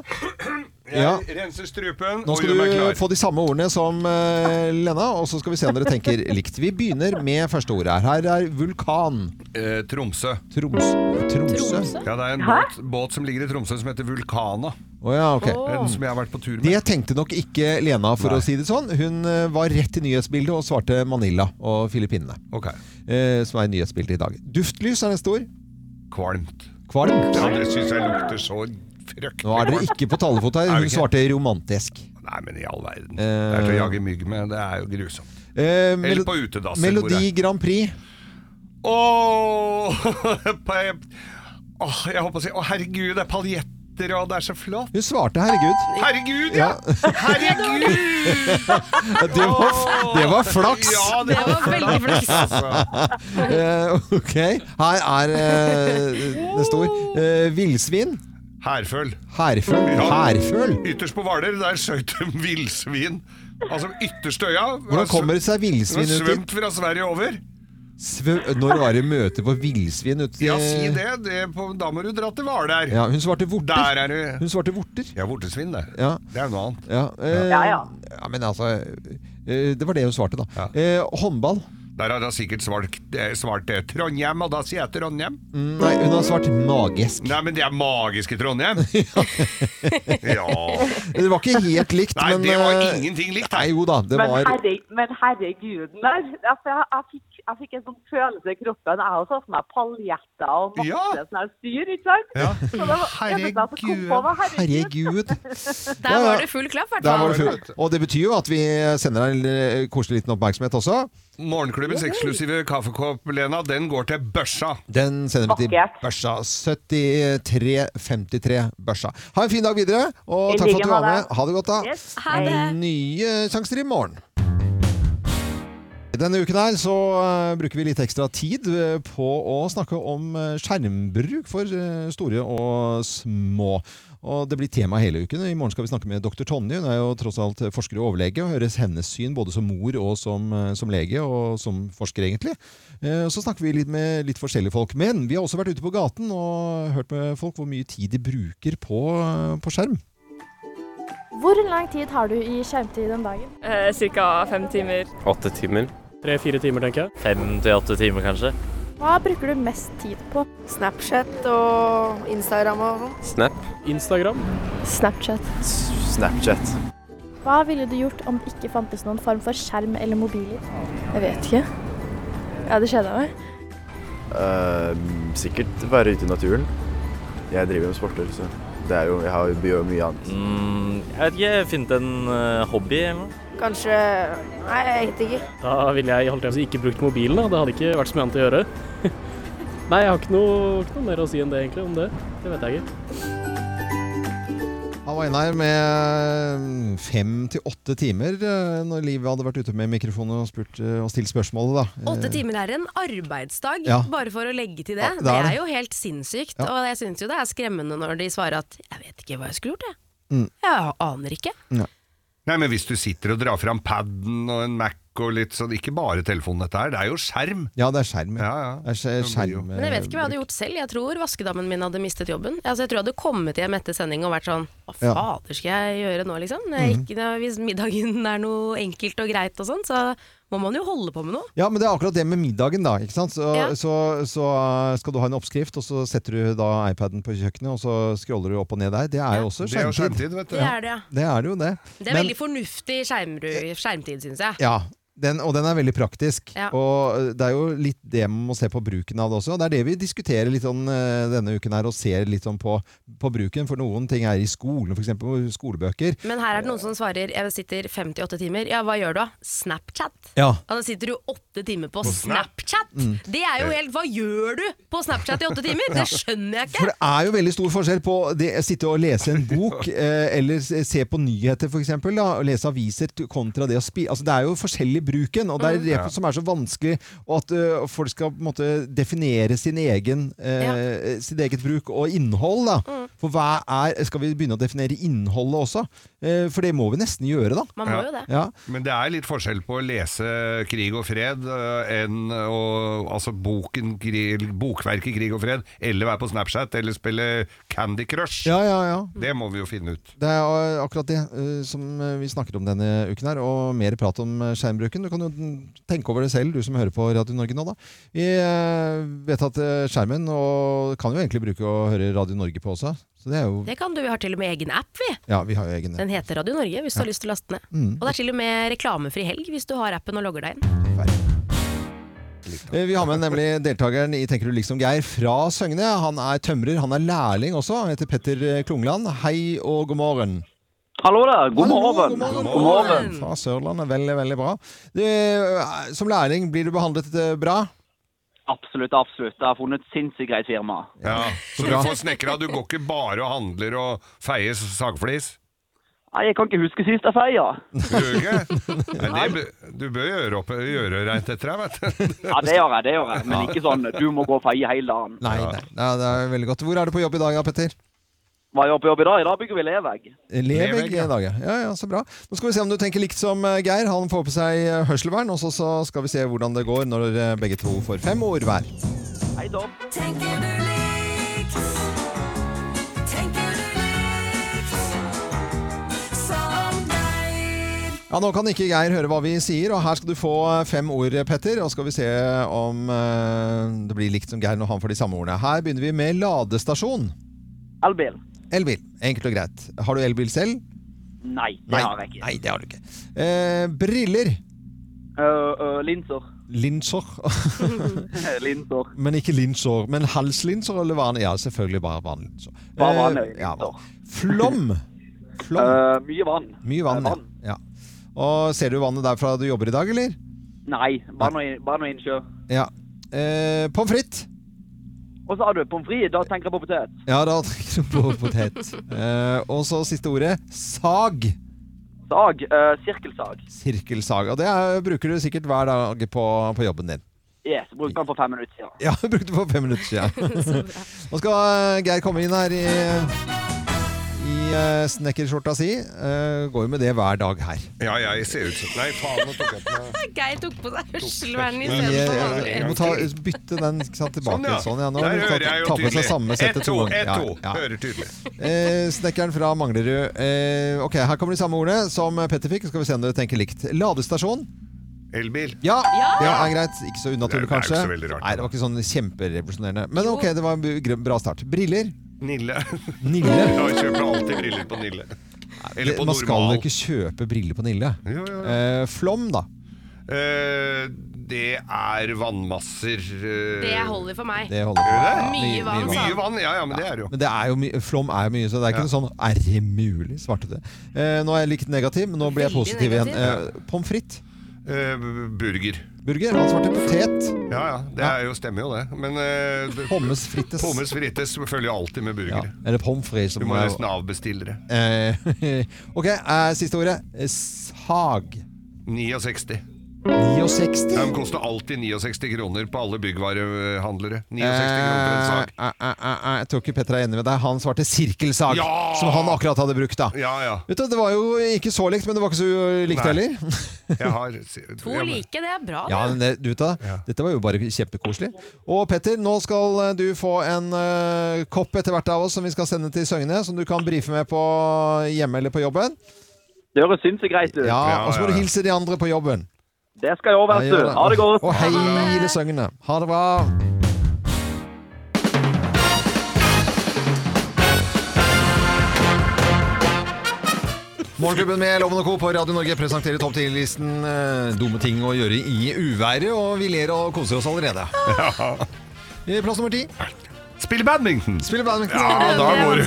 S6: Jeg
S4: Ja.
S6: renser strupen
S4: Nå
S6: og
S4: skal
S6: gjør meg
S4: du
S6: klar.
S4: få de samme ordene som eh, Lena, og så skal vi se om dere tenker likt. Vi begynner med første ordet her. Her er vulkan.
S6: Eh, Tromsø.
S4: Troms, Tromsø?
S6: Ja, det er en båt, båt som ligger i Tromsø som heter Vulkana.
S4: Å ja, ok.
S6: Den som jeg har vært på tur
S4: Det
S6: med.
S4: tenkte nok ikke Lena, for
S6: Nei.
S4: å si det sånn. Hun eh, var rett i nyhetsbildet og svarte Manila og Filippinene,
S6: Ok.
S4: eh, som er i nyhetsbildet i dag. Duftlys er neste ord.
S6: Kvalmt.
S4: Kvalmt.
S6: Ja, det syns jeg lukter så frøkt.
S4: Nå er dere ikke på talefot her.
S6: Er vi
S4: Hun
S6: ikke?
S4: svarte romantisk.
S6: Nei, men i all verden. Det er til å jage mygg med. Det er jo grusomt.
S4: Eh, melo-
S6: på utedasser, hvor
S4: Melodi
S6: jeg-
S4: Grand Prix.
S6: Åh, *laughs* på- Åh, jeg håper å si Å, herregud, det er paljetter, og det er så flott.
S4: Hun svarte 'herregud'.
S6: Herregud, ja!
S4: *laughs*
S6: Herregud!
S4: Ja, Det var, f- det var flaks!
S6: Ja,
S5: Det var veldig flaks.
S6: altså.
S4: Eh, ok, her er eh, neste ord. Eh, Villsvin.
S6: Herføl.
S4: Hærføl.
S6: Ja.
S4: Hærføl.
S6: Ytterst på Hvaler, der skøyt de *laughs* villsvin. Altså ytterste øya. Altså,
S4: Hvordan kommer det seg villsvin ut dit?
S6: Svømt fra Sverige over.
S4: Svø- Når var det møte på villsvin ut
S6: Ja, si det. det er på, da må du dra til Hvaler.
S4: Ja, hun svarte vorter.
S6: Der er du.
S4: Hun svarte vorter.
S6: Ja, vortesvin, det.
S4: Ja.
S6: Det er noe annet.
S4: Ja, eh,
S7: Ja, ja.
S4: ja, men altså eh, Det var det hun svarte, da.
S6: Ja.
S4: Eh, håndball.
S6: Der har hun sikkert svart, eh, svart eh, Trondheim, og da sier jeg Trondheim.
S4: Nei, hun har svart magisk.
S6: Nei, men det er magiske Trondheim.
S4: *laughs*
S6: ja.
S4: Det var ikke helt likt,
S6: Nei,
S4: men
S6: det var
S4: eh,
S6: ingenting likt.
S4: Nei, jo da, det
S7: Men,
S4: var
S7: herre, men herreguden der. Altså, jeg, jeg, fikk, jeg fikk en sånn følelse i kroppen. Jeg har også for meg paljetter og masse
S6: Ja.
S7: sånne her styr, ikke sant?
S6: Ja.
S7: Så det var, herregud. Jeg, kom på, var herregud.
S4: Herregud.
S7: *laughs*
S5: Der var det full klapp, i hvert
S4: Der var
S5: fall.
S4: det full. Og det betyr jo at vi sender deg en eh, koselig liten oppmerksomhet også.
S6: Morgenklubbens eksklusive kaffekopp, Lena, den går til børsa.
S4: Den sender vi til
S7: Vakkert.
S4: Børsa. 7353 Børsa. Ha en fin dag videre, og
S7: I
S4: takk for
S7: like
S4: at du var
S7: måte.
S4: med. Ha det godt, da.
S7: Yes.
S5: Ha det.
S4: Nye sjanser i morgen. Denne uken her så eh, bruker vi litt ekstra tid eh, på å snakke om eh, skjermbruk for eh, store og små. Og Det blir tema hele uken. I morgen skal vi snakke med dr. Tonje. Hun er jo tross alt forsker og overlege, og høres hennes syn både som mor og som, eh, som lege, og som forsker egentlig. Eh, og Så snakker vi litt med litt forskjellige folk. Men vi har også vært ute på gaten og hørt med folk hvor mye tid de bruker på, eh, på skjerm.
S9: Hvor lang tid har du i skjermtid om dagen?
S10: Cirka fem timer.
S11: Åtte timer.
S10: Tre-fire timer, tenker jeg.
S11: Fem til åtte timer, kanskje.
S9: Hva bruker du mest tid på?
S12: Snapchat og Instagram og sånn.
S11: Snap.
S10: Instagram.
S9: Snapchat.
S11: Snapchat.
S9: Hva ville du gjort om det ikke fantes noen form for skjerm eller mobiler? Jeg vet ikke. Jeg hadde kjeda meg.
S11: sikkert være ute i naturen. Jeg driver med sporter, så det er jo, jeg har jo gjør mye annet. jeg vet ikke. Finne en eh, hobby eller noe.
S12: Kanskje Nei, jeg vet ikke.
S10: Da ville jeg holdt jeg på å si, ikke brukt mobilen. da. Det hadde ikke vært så mye annet å gjøre. Nei, jeg har ikke noe, ikke noe mer å si enn det, egentlig, om det. Det vet jeg ikke.
S4: Han var inne her med fem til åtte timer eh, når Liv hadde vært ute med mikrofonen og, spurt, eh, og stilt spørsmålet. Da. Eh,
S5: Åtte timer er en arbeidsdag,
S4: Ja.
S5: bare for å legge til det.
S4: Ja, det er
S5: det, er
S4: det.
S5: jo helt sinnssykt.
S4: Ja.
S5: Og jeg syns jo det er skremmende når de svarer at 'jeg vet ikke hva jeg skulle gjort', jeg.
S4: Mm.
S5: Jeg aner ikke.
S6: Nei, men hvis du sitter og drar fram paden og en Mac og litt sånn, ikke bare telefonen dette her, det er jo skjerm.
S4: Ja, det er skjerm.
S6: Ja, ja.
S4: Det er skje-
S6: Det blir jo-
S4: skjerm eh.
S5: Men jeg vet ikke hva jeg hadde gjort selv. Jeg tror vaskedammen min hadde mistet jobben. Altså, jeg tror jeg hadde kommet hjem etter sending og vært sånn Hva
S4: Ja. Mhm.
S5: *laughs* fader skal jeg gjøre nå, liksom? Når jeg ikke, når- hvis middagen er noe enkelt og greit og sånn, så må man jo holde på med noe.
S4: Ja, men det er akkurat det med middagen, da. ikke sant? Så,
S5: Ja.
S4: så, så eh, skal du ha en oppskrift, og så setter du da iPaden på kjøkkenet, og så scroller du opp og ned der. Det er jo også
S6: Det er jo
S4: skjermtid.
S6: skjermtid, vet du.
S5: Det er det, ja.
S4: Det er det jo det.
S5: Det er veldig fornuftig skjermru- skjermtid, syns jeg.
S4: Eh. Ja, den, og den er veldig praktisk.
S5: Ja.
S4: Og det er jo litt det man må se på bruken av det også. Og det er det vi diskuterer litt sånn eh, denne uken her, og ser litt sånn på, på bruken. For noen ting er i skolen, f.eks. skolebøker.
S5: Men her er det noen som svarer Jeg sitter 58 timer. Ja, hva gjør du da? Snapchat.
S4: Ja.
S5: Ja, da sitter du åtte timer på,
S4: På Snap.
S5: Snapchat!
S4: Mm.
S5: Det er jo helt Hva gjør du på Snapchat i åtte timer?
S4: *laughs* Ja.
S5: Det skjønner jeg ikke!
S4: For det er jo veldig stor forskjell på det å sitte og lese en
S2: *laughs*
S4: bok, eh, eller se se på nyheter f.eks., og lese aviser t- kontra det å spise altså, Det er jo forskjellig i bruken, og det er
S2: Mm.
S4: det
S2: Ja.
S4: som er så vanskelig, og at eh, folk skal på en måte definere sin egen, eh, sitt eget bruk og innhold. Da.
S2: Mm.
S4: For hva er Skal vi begynne å definere innholdet også? Eh, for det må vi nesten gjøre, da.
S6: Ja.
S4: Ja.
S6: Men det er litt forskjell på å lese 'Krig og fred' eh, enn å Altså boken, krig, bokverket 'Krig og fred', eller være på Snapchat, eller spille Candy Crush.
S4: Ja, ja, ja.
S6: Det må vi jo finne ut.
S4: Det er eh, akkurat det eh, som eh, vi snakker om denne uken her, og mer prat om eh, skjermbruken. Du kan jo mm, tenke over det selv, du som hører på Radio Norge nå, da. Vi eh, vet at eh, skjermen og kan jo egentlig bruke å høre Radio Norge på også. Så det er jo
S5: Det kan du. Vi har til og med egen app, vi.
S4: Ja, vi har jo egen
S5: Den heter Radio Norge, hvis du
S4: Ja.
S5: har lyst til å laste ned.
S4: Mm.
S5: Og det er til og med reklamefri helg hvis du har appen og logger deg inn.
S4: Eh, Vi har med nemlig deltakeren i Tenker du liksom Geir fra Søgne. Han er tømrer, han er lærling også. Han heter Petter eh, Klungland. Hei og god morgen.
S13: Hallo der, god morgen. God morgen.
S4: Fra Sørlandet. Veldig, veldig bra. Du, eh, som lærling, blir du behandlet eh, bra?
S13: Absolutt, absolutt. Jeg har funnet et sinnssykt greit firma.
S6: Ja, så du
S13: bra.
S6: får snekra. Du går ikke bare og handler og feier sagflis.
S13: Nei, jeg kan ikke huske sist jeg feia.
S6: Gjør du *laughs* ikke? Nei, det, bø- du bør gjøre, opp, gjøre rent etter deg, vet du.
S13: Ja, det gjør jeg, det gjør jeg. Men ikke sånn du må gå og feie hele dagen.
S4: Nei, nei. Ja, det er veldig godt. Hvor er du på jobb i dag, ja, Petter?
S13: Hva gjør jeg på jobb i dag? I dag bygger vi levegg.
S4: Levegg i dag, ja. ja. Ja, så bra. Nå skal vi se om du tenker likt som eh, Geir. Han får på seg eh, hørselvern, og så, så skal vi se hvordan det går når eh, begge to får fem ord hver.
S13: Hei, Tom.
S8: Tenker du likt? Tenker du likt som deg?
S4: Ja, Nå kan ikke Geir høre hva vi sier, og her skal du få eh, fem ord, eh, Petter. Og skal vi se om eh, det blir likt som Geir når han får de samme ordene. Her begynner vi med ladestasjon.
S13: Elbil.
S4: Elbil. Enkelt og greit. Har du elbil selv?
S13: Nei, det
S4: Nei.
S13: har jeg ikke.
S4: Nei, det har du ikke. Eh, briller.
S13: Øh, øh, linser. *laughs*
S4: Linser.
S13: linser.
S4: Men ikke linsår, men halslinser eller van... Ja, selvfølgelig bare vanlinser.
S13: Bare
S4: Eh,
S13: vanlig
S4: ja, bare- Flom. Flom.
S14: Eh,
S13: Øh, mye vann.
S4: Mye vann, ja. ja. Og ser du vannet derfra du jobber i dag, eller?
S13: Nei, bare noe, bare noe innsjø.
S4: Ja. Eh, Pommes frites.
S13: Og så har du pommes frites. Da tenker jeg på potet.
S4: Ja, da *laughs* tenker du på potet. Eh, og så siste ordet. Sag.
S13: Sag. øh, sirkelsag.
S4: Sirkelsag. Og det er, bruker du sikkert hver dag på, på jobben din.
S13: Yes, bruker den for fem minutter siden.
S4: Ja, jeg brukte for fem minutter siden. *laughs* Nå skal eh, Geir komme inn her i, i eh, snekkerskjorta si. Eh, Går jo med det hver dag her.
S6: *laughs* Ja, ja, jeg ser ut som Nei, faen, nå tok jeg på meg
S5: *laughs* Geir tok på seg hørselvernet
S4: I, eh, Du må ta, bytte den ikke sant, tilbake.
S6: Sånn, ja.
S4: Sånn, ja. Nå har
S6: Der
S4: du
S6: hører jeg
S4: tatt-
S6: jo
S4: tatt med seg samme
S6: tydelig.
S4: settet
S6: Ett to,
S4: to ganger.
S6: ett to.
S4: Ja, ja.
S6: Hører tydelig.
S4: Eh, snekkeren fra Manglerud. Eh, ok, Her kommer de samme ordene som Petter fikk. Skal vi se om dere tenker likt. Ladestasjon.
S6: Elbil.
S4: Ja, det er greit. Ikke så unaturlig,
S6: Det er jo
S4: kanskje.
S6: ikke så veldig rart.
S4: Nei, det var ikke sånn kjemperevolusjonerende. Men ok, det var en b- bra start. Briller.
S6: Nille. *laughs*
S4: Nille?
S6: Ja, jeg kjøper alltid briller på Nille. Eller på
S4: Man skal
S6: normal.
S4: jo ikke kjøpe briller på Nille.
S6: Jo, jo, jo.
S4: Eh, flom, da.
S6: Eh, det er vannmasser eh,
S5: Det holder for meg.
S4: Det holder.
S6: Gjør det?
S5: Mye
S6: Mye
S5: vann, sa han.
S6: vann, ja, ja, men det er det jo.
S4: Men det er jo mye- flom er jo mye, så det er ikke
S6: Ja.
S4: noe sånn Er det mulig? Svartete. Eh, nå er jeg litt negativ, men nå blir jeg
S6: Veldig
S4: positiv igjen.
S6: negativ.
S4: Eh, Pommes frites.
S6: Eh, burger.
S4: Burger. Han svarte potet.
S6: Ja, ja, det er jo, stemmer jo det. Men eh, det-
S4: Pommes frites.
S6: Pommes frites følger jo alltid med burger.
S4: Eller pommes frites. som
S6: Du må
S4: er-
S6: nesten avbestille det.
S4: Eh, *laughs* ok, eh, siste ordet. Eh, Sag.
S6: 69.
S4: 69?
S6: Ja, De koster alltid 69 kroner på alle byggvarehandlere. 69 kroner for en
S4: Eh,
S6: sak.
S4: eh, eh, eh, jeg tror ikke Petter er enig med deg. Han svarte sirkelsag,
S6: Ja!
S4: som han akkurat hadde brukt. da
S6: Ja, ja.
S4: Vet du, Det var jo ikke så likt, men det var ikke så likt
S6: Nei.
S4: heller.
S6: Jeg har
S5: To like, det er bra.
S4: *laughs* Ja, men det, du vet da, Dette var jo bare kjempekoselig. Og Petter, nå skal eh, du få en eh, kopp etter hvert av oss som vi skal sende til Søgne, som du kan brife med på hjemme eller på jobben.
S13: Det høres sinnssykt greit ut.
S4: Ja, og så må du hilse de andre på jobben.
S13: Det skal jeg òg, vet du. Ha det godt.
S4: Og hele Søgne. Ha det bra. Morgenklubben med Loven og Co. på Radio Norge presenterer topp 10-listen eh, dumme ting å gjøre i uværet, og vi ler og koser oss
S6: *laughs*
S4: allerede. I Plass nummer ti.
S6: Spille badminton.
S4: Spille badminton.
S6: Ja, da går du.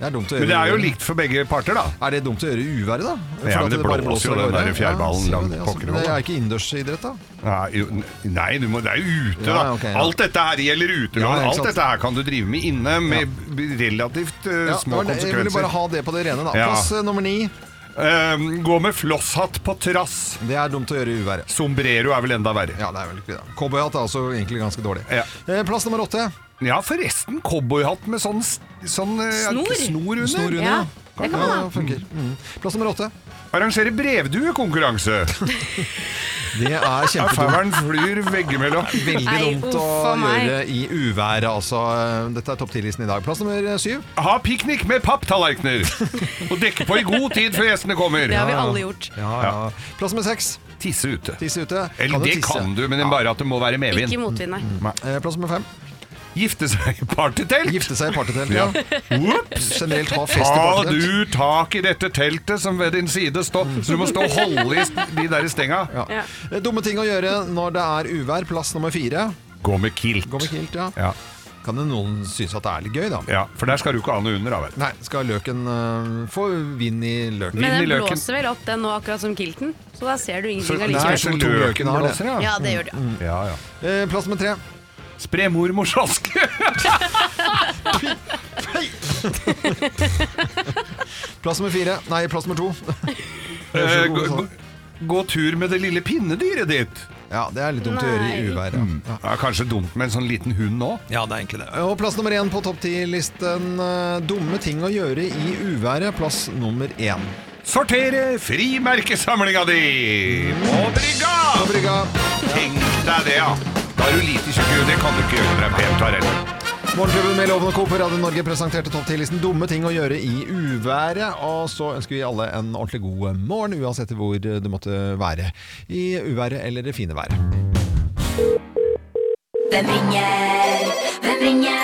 S4: Det er dumt å gjøre
S6: Men det er jo
S4: i uværet.
S6: likt for begge parter, da.
S4: Er det dumt å gjøre i uværet, da? For
S6: Ja,
S4: at
S6: men det
S4: bare
S6: blåser jo
S4: av
S6: den
S4: gårde.
S6: der fjærbalen
S4: Ja,
S6: langt
S4: det, altså,
S6: pokker i
S4: det
S6: hodet.
S4: er ikke innendørsidrett, da.
S6: Nei, jo, nei du må, det er jo ute, da.
S4: Ja, ok, ja.
S6: Alt dette her gjelder
S4: Ja,
S6: utelån.
S4: ikke
S6: Alt
S4: sant.
S6: dette her kan du drive med inne, med b- relativt eh,
S4: Ja,
S6: små
S4: det var det. jeg ville
S6: konsekvenser.
S4: bare ha det på det rene, da.
S6: Ja.
S4: Plass eh, nummer ni.
S6: Ehm, gå med flosshatt på trass.
S4: Det er dumt å gjøre i uværet.
S6: Sombrero er vel enda verre.
S4: Ja, det er vel ikke det. Cowboyhatt er også egentlig ganske dårlig.
S6: Ja.
S4: Eh, Plass nummer åtte.
S6: Ja, forresten. Cowboyhatt med sånn, s- sånn eh,
S4: Snor.
S6: snor under.
S4: Snor under, Ja, ja. det kan man ha.
S6: funker.
S4: Plass nummer åtte.
S6: Arrangere
S4: *laughs*
S6: brevduekonkurranse.
S4: Det er kjempedumt.
S6: Fauren flyr veggimellom.
S4: Veldig dumt å gjøre i uværet, altså. Eh, Dette er topp 10-listen i dag. Plass nummer syv.
S6: Ha piknik med papptallerkener! Og dekke på i god tid før gjestene kommer.
S4: Det har vi alle gjort.
S6: Ja, ja.
S4: Plass nummer seks.
S6: Tisse ute.
S4: Tisse ute.
S6: Eller
S4: Kan du
S6: det
S4: tisse?
S6: kan du, men det er bare at det må være medvind.
S5: Ikke motvind, nei.
S4: Eh, Plass nummer fem.
S6: Gifte seg i partytelt!
S4: Gifte seg i partytelt,
S6: Ja.
S4: ja.
S6: Ops!
S4: Generelt ha fest i
S6: Ta
S4: partytelt.
S6: du tak i dette teltet som ved din side står, så du må stå og holde i st- de der stenga.
S4: Ja. Eh, Dumme ting å gjøre når det er uvær. Plass nummer fire.
S6: Gå med kilt.
S4: Gå med kilt, ja.
S6: Ja.
S4: Kan det noen synes at det er litt gøy, da?
S6: Ja, for der skal du ikke ha noe under, da, vet du.
S4: Nei, skal løken eh, få vind i løken?
S5: Men den blåser vel opp den nå, akkurat som kilten, så da ser du
S4: Så-
S5: ingenting
S4: Nei,
S5: allikevel.
S4: så- to løken har det.
S5: Ja, det gjør det.
S6: Ja, ja.
S4: Eh, Plass nummer tre.
S6: Spre mormors aske!
S4: *laughs* Plass nummer fire. Nei, plass *laughs* nummer to.
S6: Eh, gå, gå, gå tur med det lille pinnedyret ditt.
S4: Ja, det er litt dumt å gjøre i uværet.
S6: Ja. kanskje dumt med en sånn liten hund nå.
S4: Mm. Ja, det er egentlig det. Og plass nummer én på topp ti-listen. eh, Dumme ting å gjøre i uværet. Plass nummer én.
S6: Sortere frimerkesamlinga di på brygga! Tenk deg det, ja. Da er du lite tjukk, det kan du ikke gjøre når det er pent vær heller.
S4: Morgenklubben med Loven og Co. på Radio Norge presenterte topp ti-listen dumme ting å gjøre i uværet. Og så ønsker vi alle en ordentlig god morgen, uansett hvor du måtte være. I uværet eller det fine været.
S8: Hvem ringer? Hvem ringer? Hvem ringer?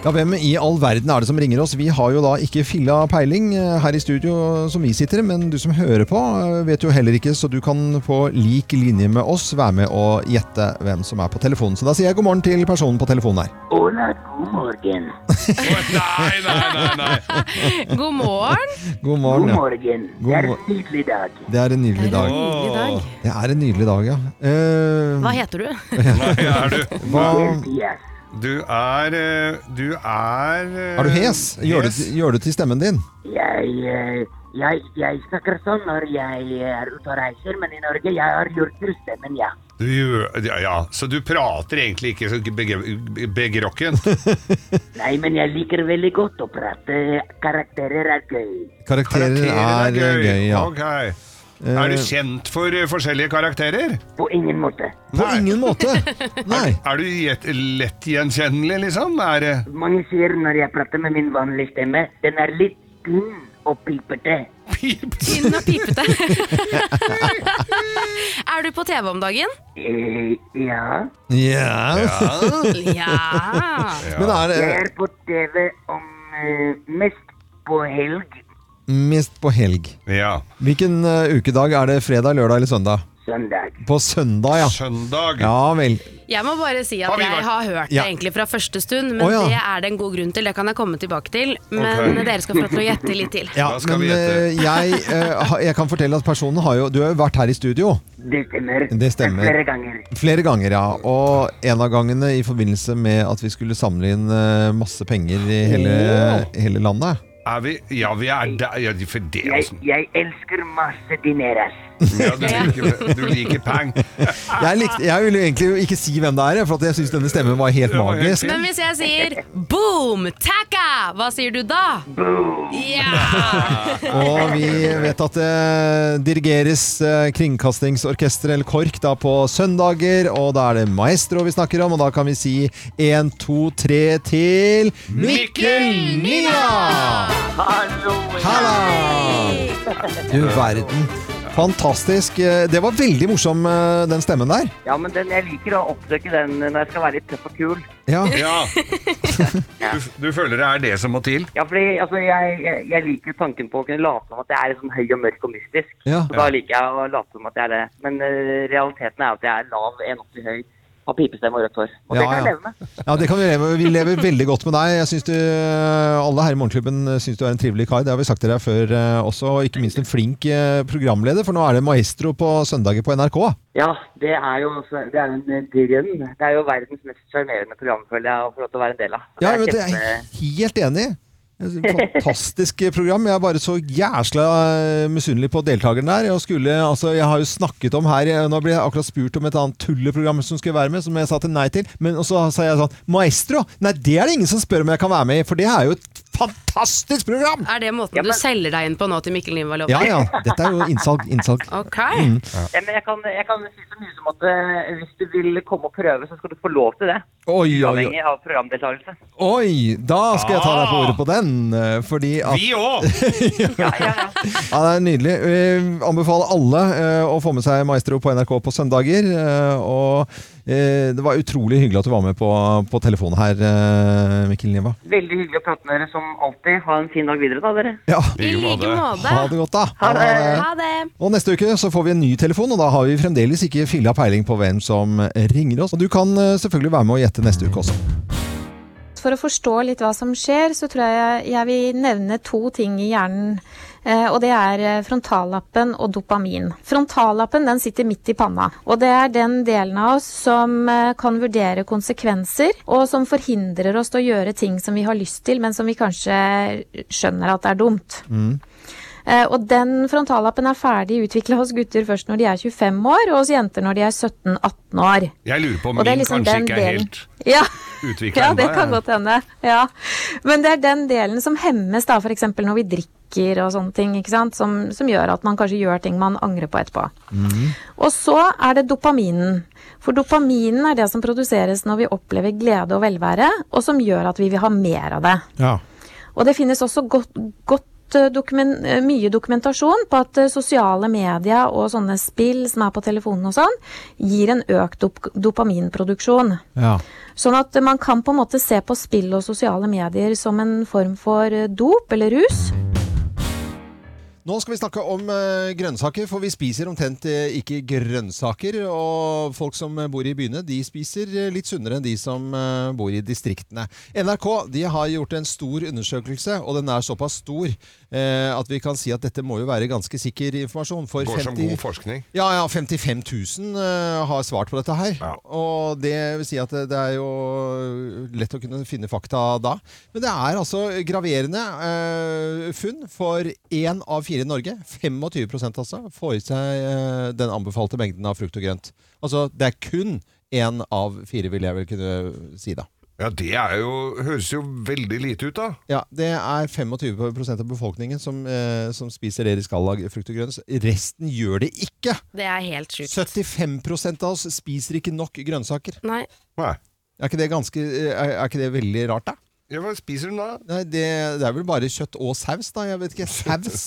S4: Ja, Hvem i all verden er det som ringer oss? Vi har jo da ikke filla peiling eh, her i studio som vi sitter, men du som hører på eh, vet jo heller ikke, så du kan på lik linje med oss være med og gjette hvem som er på telefonen. Så da sier jeg god morgen til personen på telefonen her.
S14: Ola, god morgen.
S6: nei, nei, nei,
S4: nei.
S5: God morgen.
S4: God morgen. ja.
S14: God morgen.
S4: God
S14: Det er en
S4: mor-
S14: nydelig dag.
S4: Det er en nydelig dag.
S5: nydelig dag.
S4: Det er en nydelig dag, ja. Eh,
S5: Hva
S4: *laughs*
S5: heter du?
S6: Nei, er du?
S4: Hva-
S6: Du er eh, Du er eh,
S4: Er du hes? Gjør det, gjør det til stemmen din?
S14: Jeg, eh, jeg, jeg snakker sånn når jeg er ute og reiser, men i Norge jeg har gjort til stemmen, ja.
S6: Du gjør ja, ja, så du prater egentlig ikke så begre- begrokkent?
S14: Nei, men jeg liker veldig godt å prate. Karakterer er gøy.
S4: Karakterer,
S6: Karakterer
S4: er,
S6: er gøy.
S4: gøy, ja.
S6: Ok. Er du kjent for eh, forskjellige karakterer?
S14: På ingen måte.
S4: På ingen måte? Nei.
S6: Er, er du gjet- lett gjenkjennelig, liksom? Er, eh,
S14: Mange sier når jeg prater med min vanlige stemme, den er litt tynn og pipete.
S5: Tynn og pipete. *laughs* er du på TV om dagen?
S14: Eh, ja.
S5: Ja.
S4: Men er det-
S14: Jeg er på TV om eh, mest på helg,
S4: Mest på helg.
S6: Ja.
S4: Hvilken eh, ukedag? Er det fredag, lørdag eller søndag?
S14: søndag.
S4: På søndag, ja.
S6: Søndag.
S4: Ja vel.
S5: Jeg må bare si at
S4: Har vi
S5: jeg
S4: vært-
S5: har hørt det
S4: Ja.
S5: egentlig fra første stund, men
S4: Å, ja.
S5: det er det en god grunn til. Det kan jeg komme tilbake til. Men
S4: Ok.
S5: dere skal få lov til å gjette litt til.
S4: Ja, men eh, jeg, eh, ha- jeg kan fortelle at personen har jo Du har jo vært her i studio.
S14: Det stemmer.
S4: Det stemmer.
S14: Flere ganger.
S4: Flere ganger, ja. Og en av gangene i forbindelse med at vi skulle samle inn eh, masse penger i hele, hele landet.
S6: er vi Ja, vi er der. Ja, de- for det,
S14: Jeg,
S6: altså.
S14: jeg elsker masse dineras.
S6: Ja, du liker, du liker pang.
S4: Jeg, likte, jeg ville jo egentlig jo ikke si hvem det er, for at jeg syns denne stemmen var helt magisk.
S5: Men hvis jeg sier boom, takka, hva sier du da? Boom! Ja!
S4: Og vi vet at det dirigeres eh, kringkastingsorkester eller KORK da på søndager, og da er det maestro vi snakker om, og da kan vi si én, to, tre til Mikkel Nia!
S14: Hallo!
S4: Halla! Du verden. Fantastisk. Eh, Det var veldig morsom, eh, den stemmen der.
S14: Ja, men den, jeg liker å oppsøke den når jeg skal være litt tøff og kul.
S4: Ja.
S6: Du, du føler det er det som må til?
S14: Ja, fordi altså, jeg, jeg- jeg liker tanken på å kunne late som at jeg er sånn høy og mørk og mystisk.
S4: Ja.
S14: Så da liker jeg å late som at jeg er det. Men eh, realiteten er at jeg er lav, 1,80 høy, har pipestemme og rødt hår. Og det
S4: Ja,
S14: kan jeg
S4: ja.
S14: leve med.
S4: Ja, det kan Vi leve Vi lever veldig godt med deg. Jeg synes du, Alle her i Morgenklubben syns du er en trivelig kar. Det har vi sagt til deg før eh, også. Og ikke minst en flink eh, programleder, for nå er det Maestro på søndager på NRK.
S14: Ja, det er jo også- det er jo en drøm. Det er jo verdens mest sjarmerende program, føler jeg, å få lov til å være en del av.
S4: Ja,
S14: Det er
S4: vet du, jeg er helt enig. Fantastisk program. Jeg er bare så jæsla eh, misunnelig på deltakeren der. Jeg, skulle, altså, jeg har jo snakket om her jeg- Nå ble jeg akkurat spurt om et annet tulleprogram som skulle være med, som jeg sa til nei til. Men og så sa jeg sånn Maestro! Nei, det er det ingen som spør om jeg kan være med i, for det er jo et fantastisk program!
S5: Er det måten du selger deg inn på nå til Mikkel Nivalov?
S4: Ja ja, dette er jo innsalg. innsalg.
S5: Ok.
S4: Mm.
S14: Ja, men jeg kan, jeg kan si så mye som at eh, hvis du vil komme og prøve, så skal du få lov til det.
S4: Oi, oi, oi.
S14: Uavhengig av programdeltakelse.
S4: Oi, da skal jeg ta deg på ordet på den. eh, Fordi at
S14: Vi òg!
S4: Ja, det er nydelig. Vi anbefaler alle eh, å få med seg Maestro på NRK på søndager. eh, Og eh, det var utrolig hyggelig at du var med på, på telefonen her, eh, Mikkel Niva.
S14: Veldig hyggelig å prate med dere som alltid. Ha en fin dag videre, da, dere.
S4: Ja.
S14: I like måte.
S4: Ha det godt, da.
S14: Ha det.
S5: Ha det.
S4: Og neste uke så får vi en ny telefon, og da har vi fremdeles ikke filla peiling på hvem som ringer oss. Og du kan eh, selvfølgelig være med og gjette neste uke også.
S15: For å forstå litt hva som skjer, så tror jeg jeg vil nevne to ting i hjernen. eh, Og det er eh, frontallappen og dopamin. Frontallappen den sitter midt i panna. Og det er den delen av oss som eh, kan vurdere konsekvenser, og som forhindrer oss til å gjøre ting som vi har lyst til, men som vi kanskje skjønner at er dumt. Eh, Og den frontallappen er ferdig utvikla hos gutter først når de er 25 år, og hos jenter når de er 17-18 år.
S6: Jeg lurer på om
S15: Og det er
S6: min
S15: liksom
S6: kanskje
S15: den
S6: ikke er
S15: delen.
S6: helt
S15: Ja.
S6: utvikla
S15: Ja, det kan godt hende. Ja. Men det er den delen som hemmes, da, f.eks. når vi drikker og sånne ting, ikke sant? Som, som gjør at man kanskje gjør ting man angrer på etterpå. Og så er det dopaminen. For dopaminen er det som produseres når vi opplever glede og velvære, og som gjør at vi vil ha mer av det.
S4: Ja.
S15: Og det finnes også godt, godt eh, dokumen- eh, mye dokumentasjon på at eh, sosiale medier og sånne spill som er på telefonen og sånn, gir en økt dop dopaminproduksjon.
S4: Ja.
S15: Sånn at man kan på en måte se på spill og sosiale medier som en form for eh, dop eller rus.
S4: Nå skal vi snakke om eh, grønnsaker, for vi spiser omtrent eh, ikke grønnsaker. Og folk som eh, bor i byene, de spiser eh, litt sunnere enn de som eh, bor i distriktene. NRK de har gjort en stor undersøkelse, og den er såpass stor eh, at vi kan si at dette må jo være ganske sikker informasjon. For
S6: Går som
S4: 50
S6: god forskning.
S4: Ja, ja, 55 000 eh, har svart på dette her. Og det vil si at det, det er jo lett å kunne finne fakta da. Men det er altså graverende eh, funn for én av fire i Norge. 25 altså får i seg eh, den anbefalte mengden av frukt og grønt. Altså det er kun én av fire, vil jeg vel kunne si da.
S6: Ja, Det er jo, høres jo veldig lite ut, da.
S4: Ja, Det er 25 av befolkningen som, eh, som spiser det de skal av frukt og grønt. Resten gjør det ikke.
S5: Det er helt sjukt.
S4: 75 av oss spiser ikke nok grønnsaker.
S5: Nei.
S4: Er ikke det, ganske, eh, er, er ikke det veldig rart, da?
S6: Ja, Hva spiser hun da?
S4: Nei, det, det er vel bare kjøtt og saus, da. Jeg vet ikke. Saus!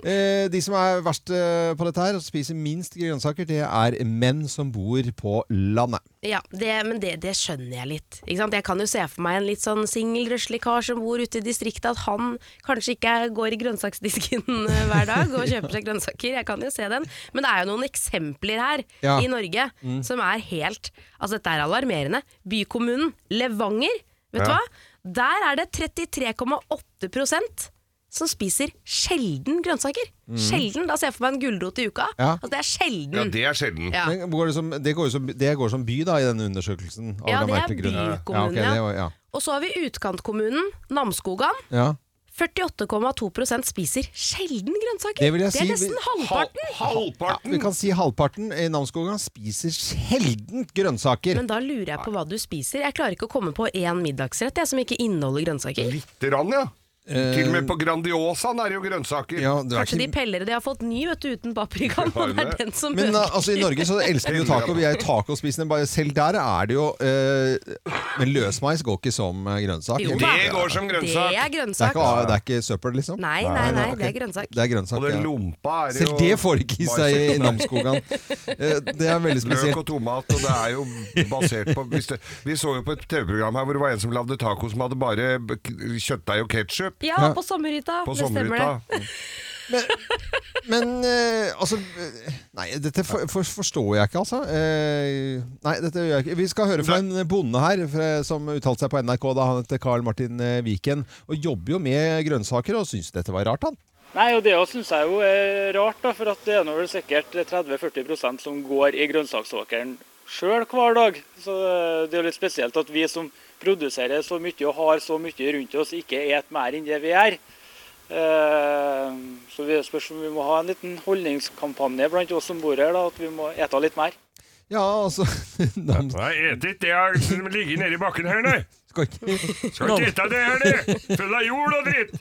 S4: eh, de som er verst eh, på dette her, og spiser minst grønnsaker, det er menn som bor på landet.
S5: Ja, det, men det, det skjønner jeg litt. Ikke sant? Jeg kan jo se for meg en litt sånn singel, røslig kar som bor ute i distriktet, at han kanskje ikke er- går i grønnsaksdisken *laughs* eh, hver dag og kjøper seg grønnsaker. Jeg kan jo se den. Men det er jo noen eksempler her
S16: Ja.
S5: i Norge
S16: Mm.
S5: som er helt Altså, dette er alarmerende. Bykommunen Levanger, vet
S16: Ja.
S5: du hva? Der er det 33,8 som spiser sjelden grønnsaker.
S4: Mm.
S5: Sjelden. Da ser jeg for meg en gulrot i uka.
S4: Ja.
S5: Altså, det er sjelden.
S6: er sjelden.
S5: Ja.
S4: Men går det, som, det, går jo som, det går som by, da, i denne undersøkelsen? av
S5: Ja, det er
S4: Gamerte Grunn.
S5: bykommunen,
S4: Ja, ok, det
S5: ja.
S4: var- ja.
S5: Og så har vi utkantkommunen Namsskogan.
S4: ja.
S5: 48,2 spiser sjelden grønnsaker.
S4: Det vil jeg si-
S5: er nesten halvparten.
S4: Ja, vi kan si halvparten i Namsskogan spiser sjelden grønnsaker.
S5: Men da lurer jeg på hva du spiser. Jeg klarer ikke å komme på én middagsrett jeg, som ikke inneholder grønnsaker.
S6: Litt rann, ja.
S4: Eh,
S6: Til og med på Grandiosaen er det jo grønnsaker.
S5: Kanskje de pellere de har fått ny vet du, uten
S4: *laughs*
S5: paprikaen, og det er den som
S4: Men
S5: øker.
S4: uh, altså, i Norge så elsker vi jo taco. Vi er jo tacospisende. Bare selv der er det jo uh, Men løsmeis går ikke som uh, grønnsak.
S5: Jo
S4: eller?
S5: da. Det går som grønnsak. Det er grønnsak.
S4: Det er ikke, det er ikke søppel, liksom?
S5: Nei, nei, nei, det er
S4: ok.
S5: grønnsak.
S4: Det er grønnsak,
S6: Og den
S4: ja.
S6: lompa er
S4: Selv
S6: jo
S4: det får de ikke i seg i Namsskogan. Eh, Det er veldig spesielt.
S6: Løk og tomat, og det er jo basert på hvis det, Vi så jo på et TV-program her hvor det var en som lagde taco som hadde bare b- k- kjøttdeig og ketsjup.
S5: Ja, på sommerhytta.
S6: På
S5: det stemmer
S6: sommerhytta.
S5: det.
S4: Men eh, altså eh, Nei, dette for, for, forstår jeg ikke, altså. Eh, nei, dette gjør jeg ikke. Vi skal høre fra en bonde her fra, som uttalte seg på NRK da han heter Carl Martin eh, Viken. Og jobber jo med grønnsaker og syns dette var rart, han.
S16: Nei, og Det syns jeg jo er rart, da, for at det er nå vel sikkert 30-40 som går i grønnsaksåkeren sjøl hver dag. Så Det er jo litt spesielt at vi som produserer så mye og har så mye rundt oss, ikke et mer enn det vi gjør. Eh, Så det spørs om vi må ha en liten holdningskampanje blant oss som bor her, da, at vi må ete litt mer.
S4: Ja, altså *laughs*
S17: Nei, et ikke det her som ligger nedi bakken her, nei.
S4: Skal ikke
S17: Skal ikke ete det her, det. Full av jord og dritt.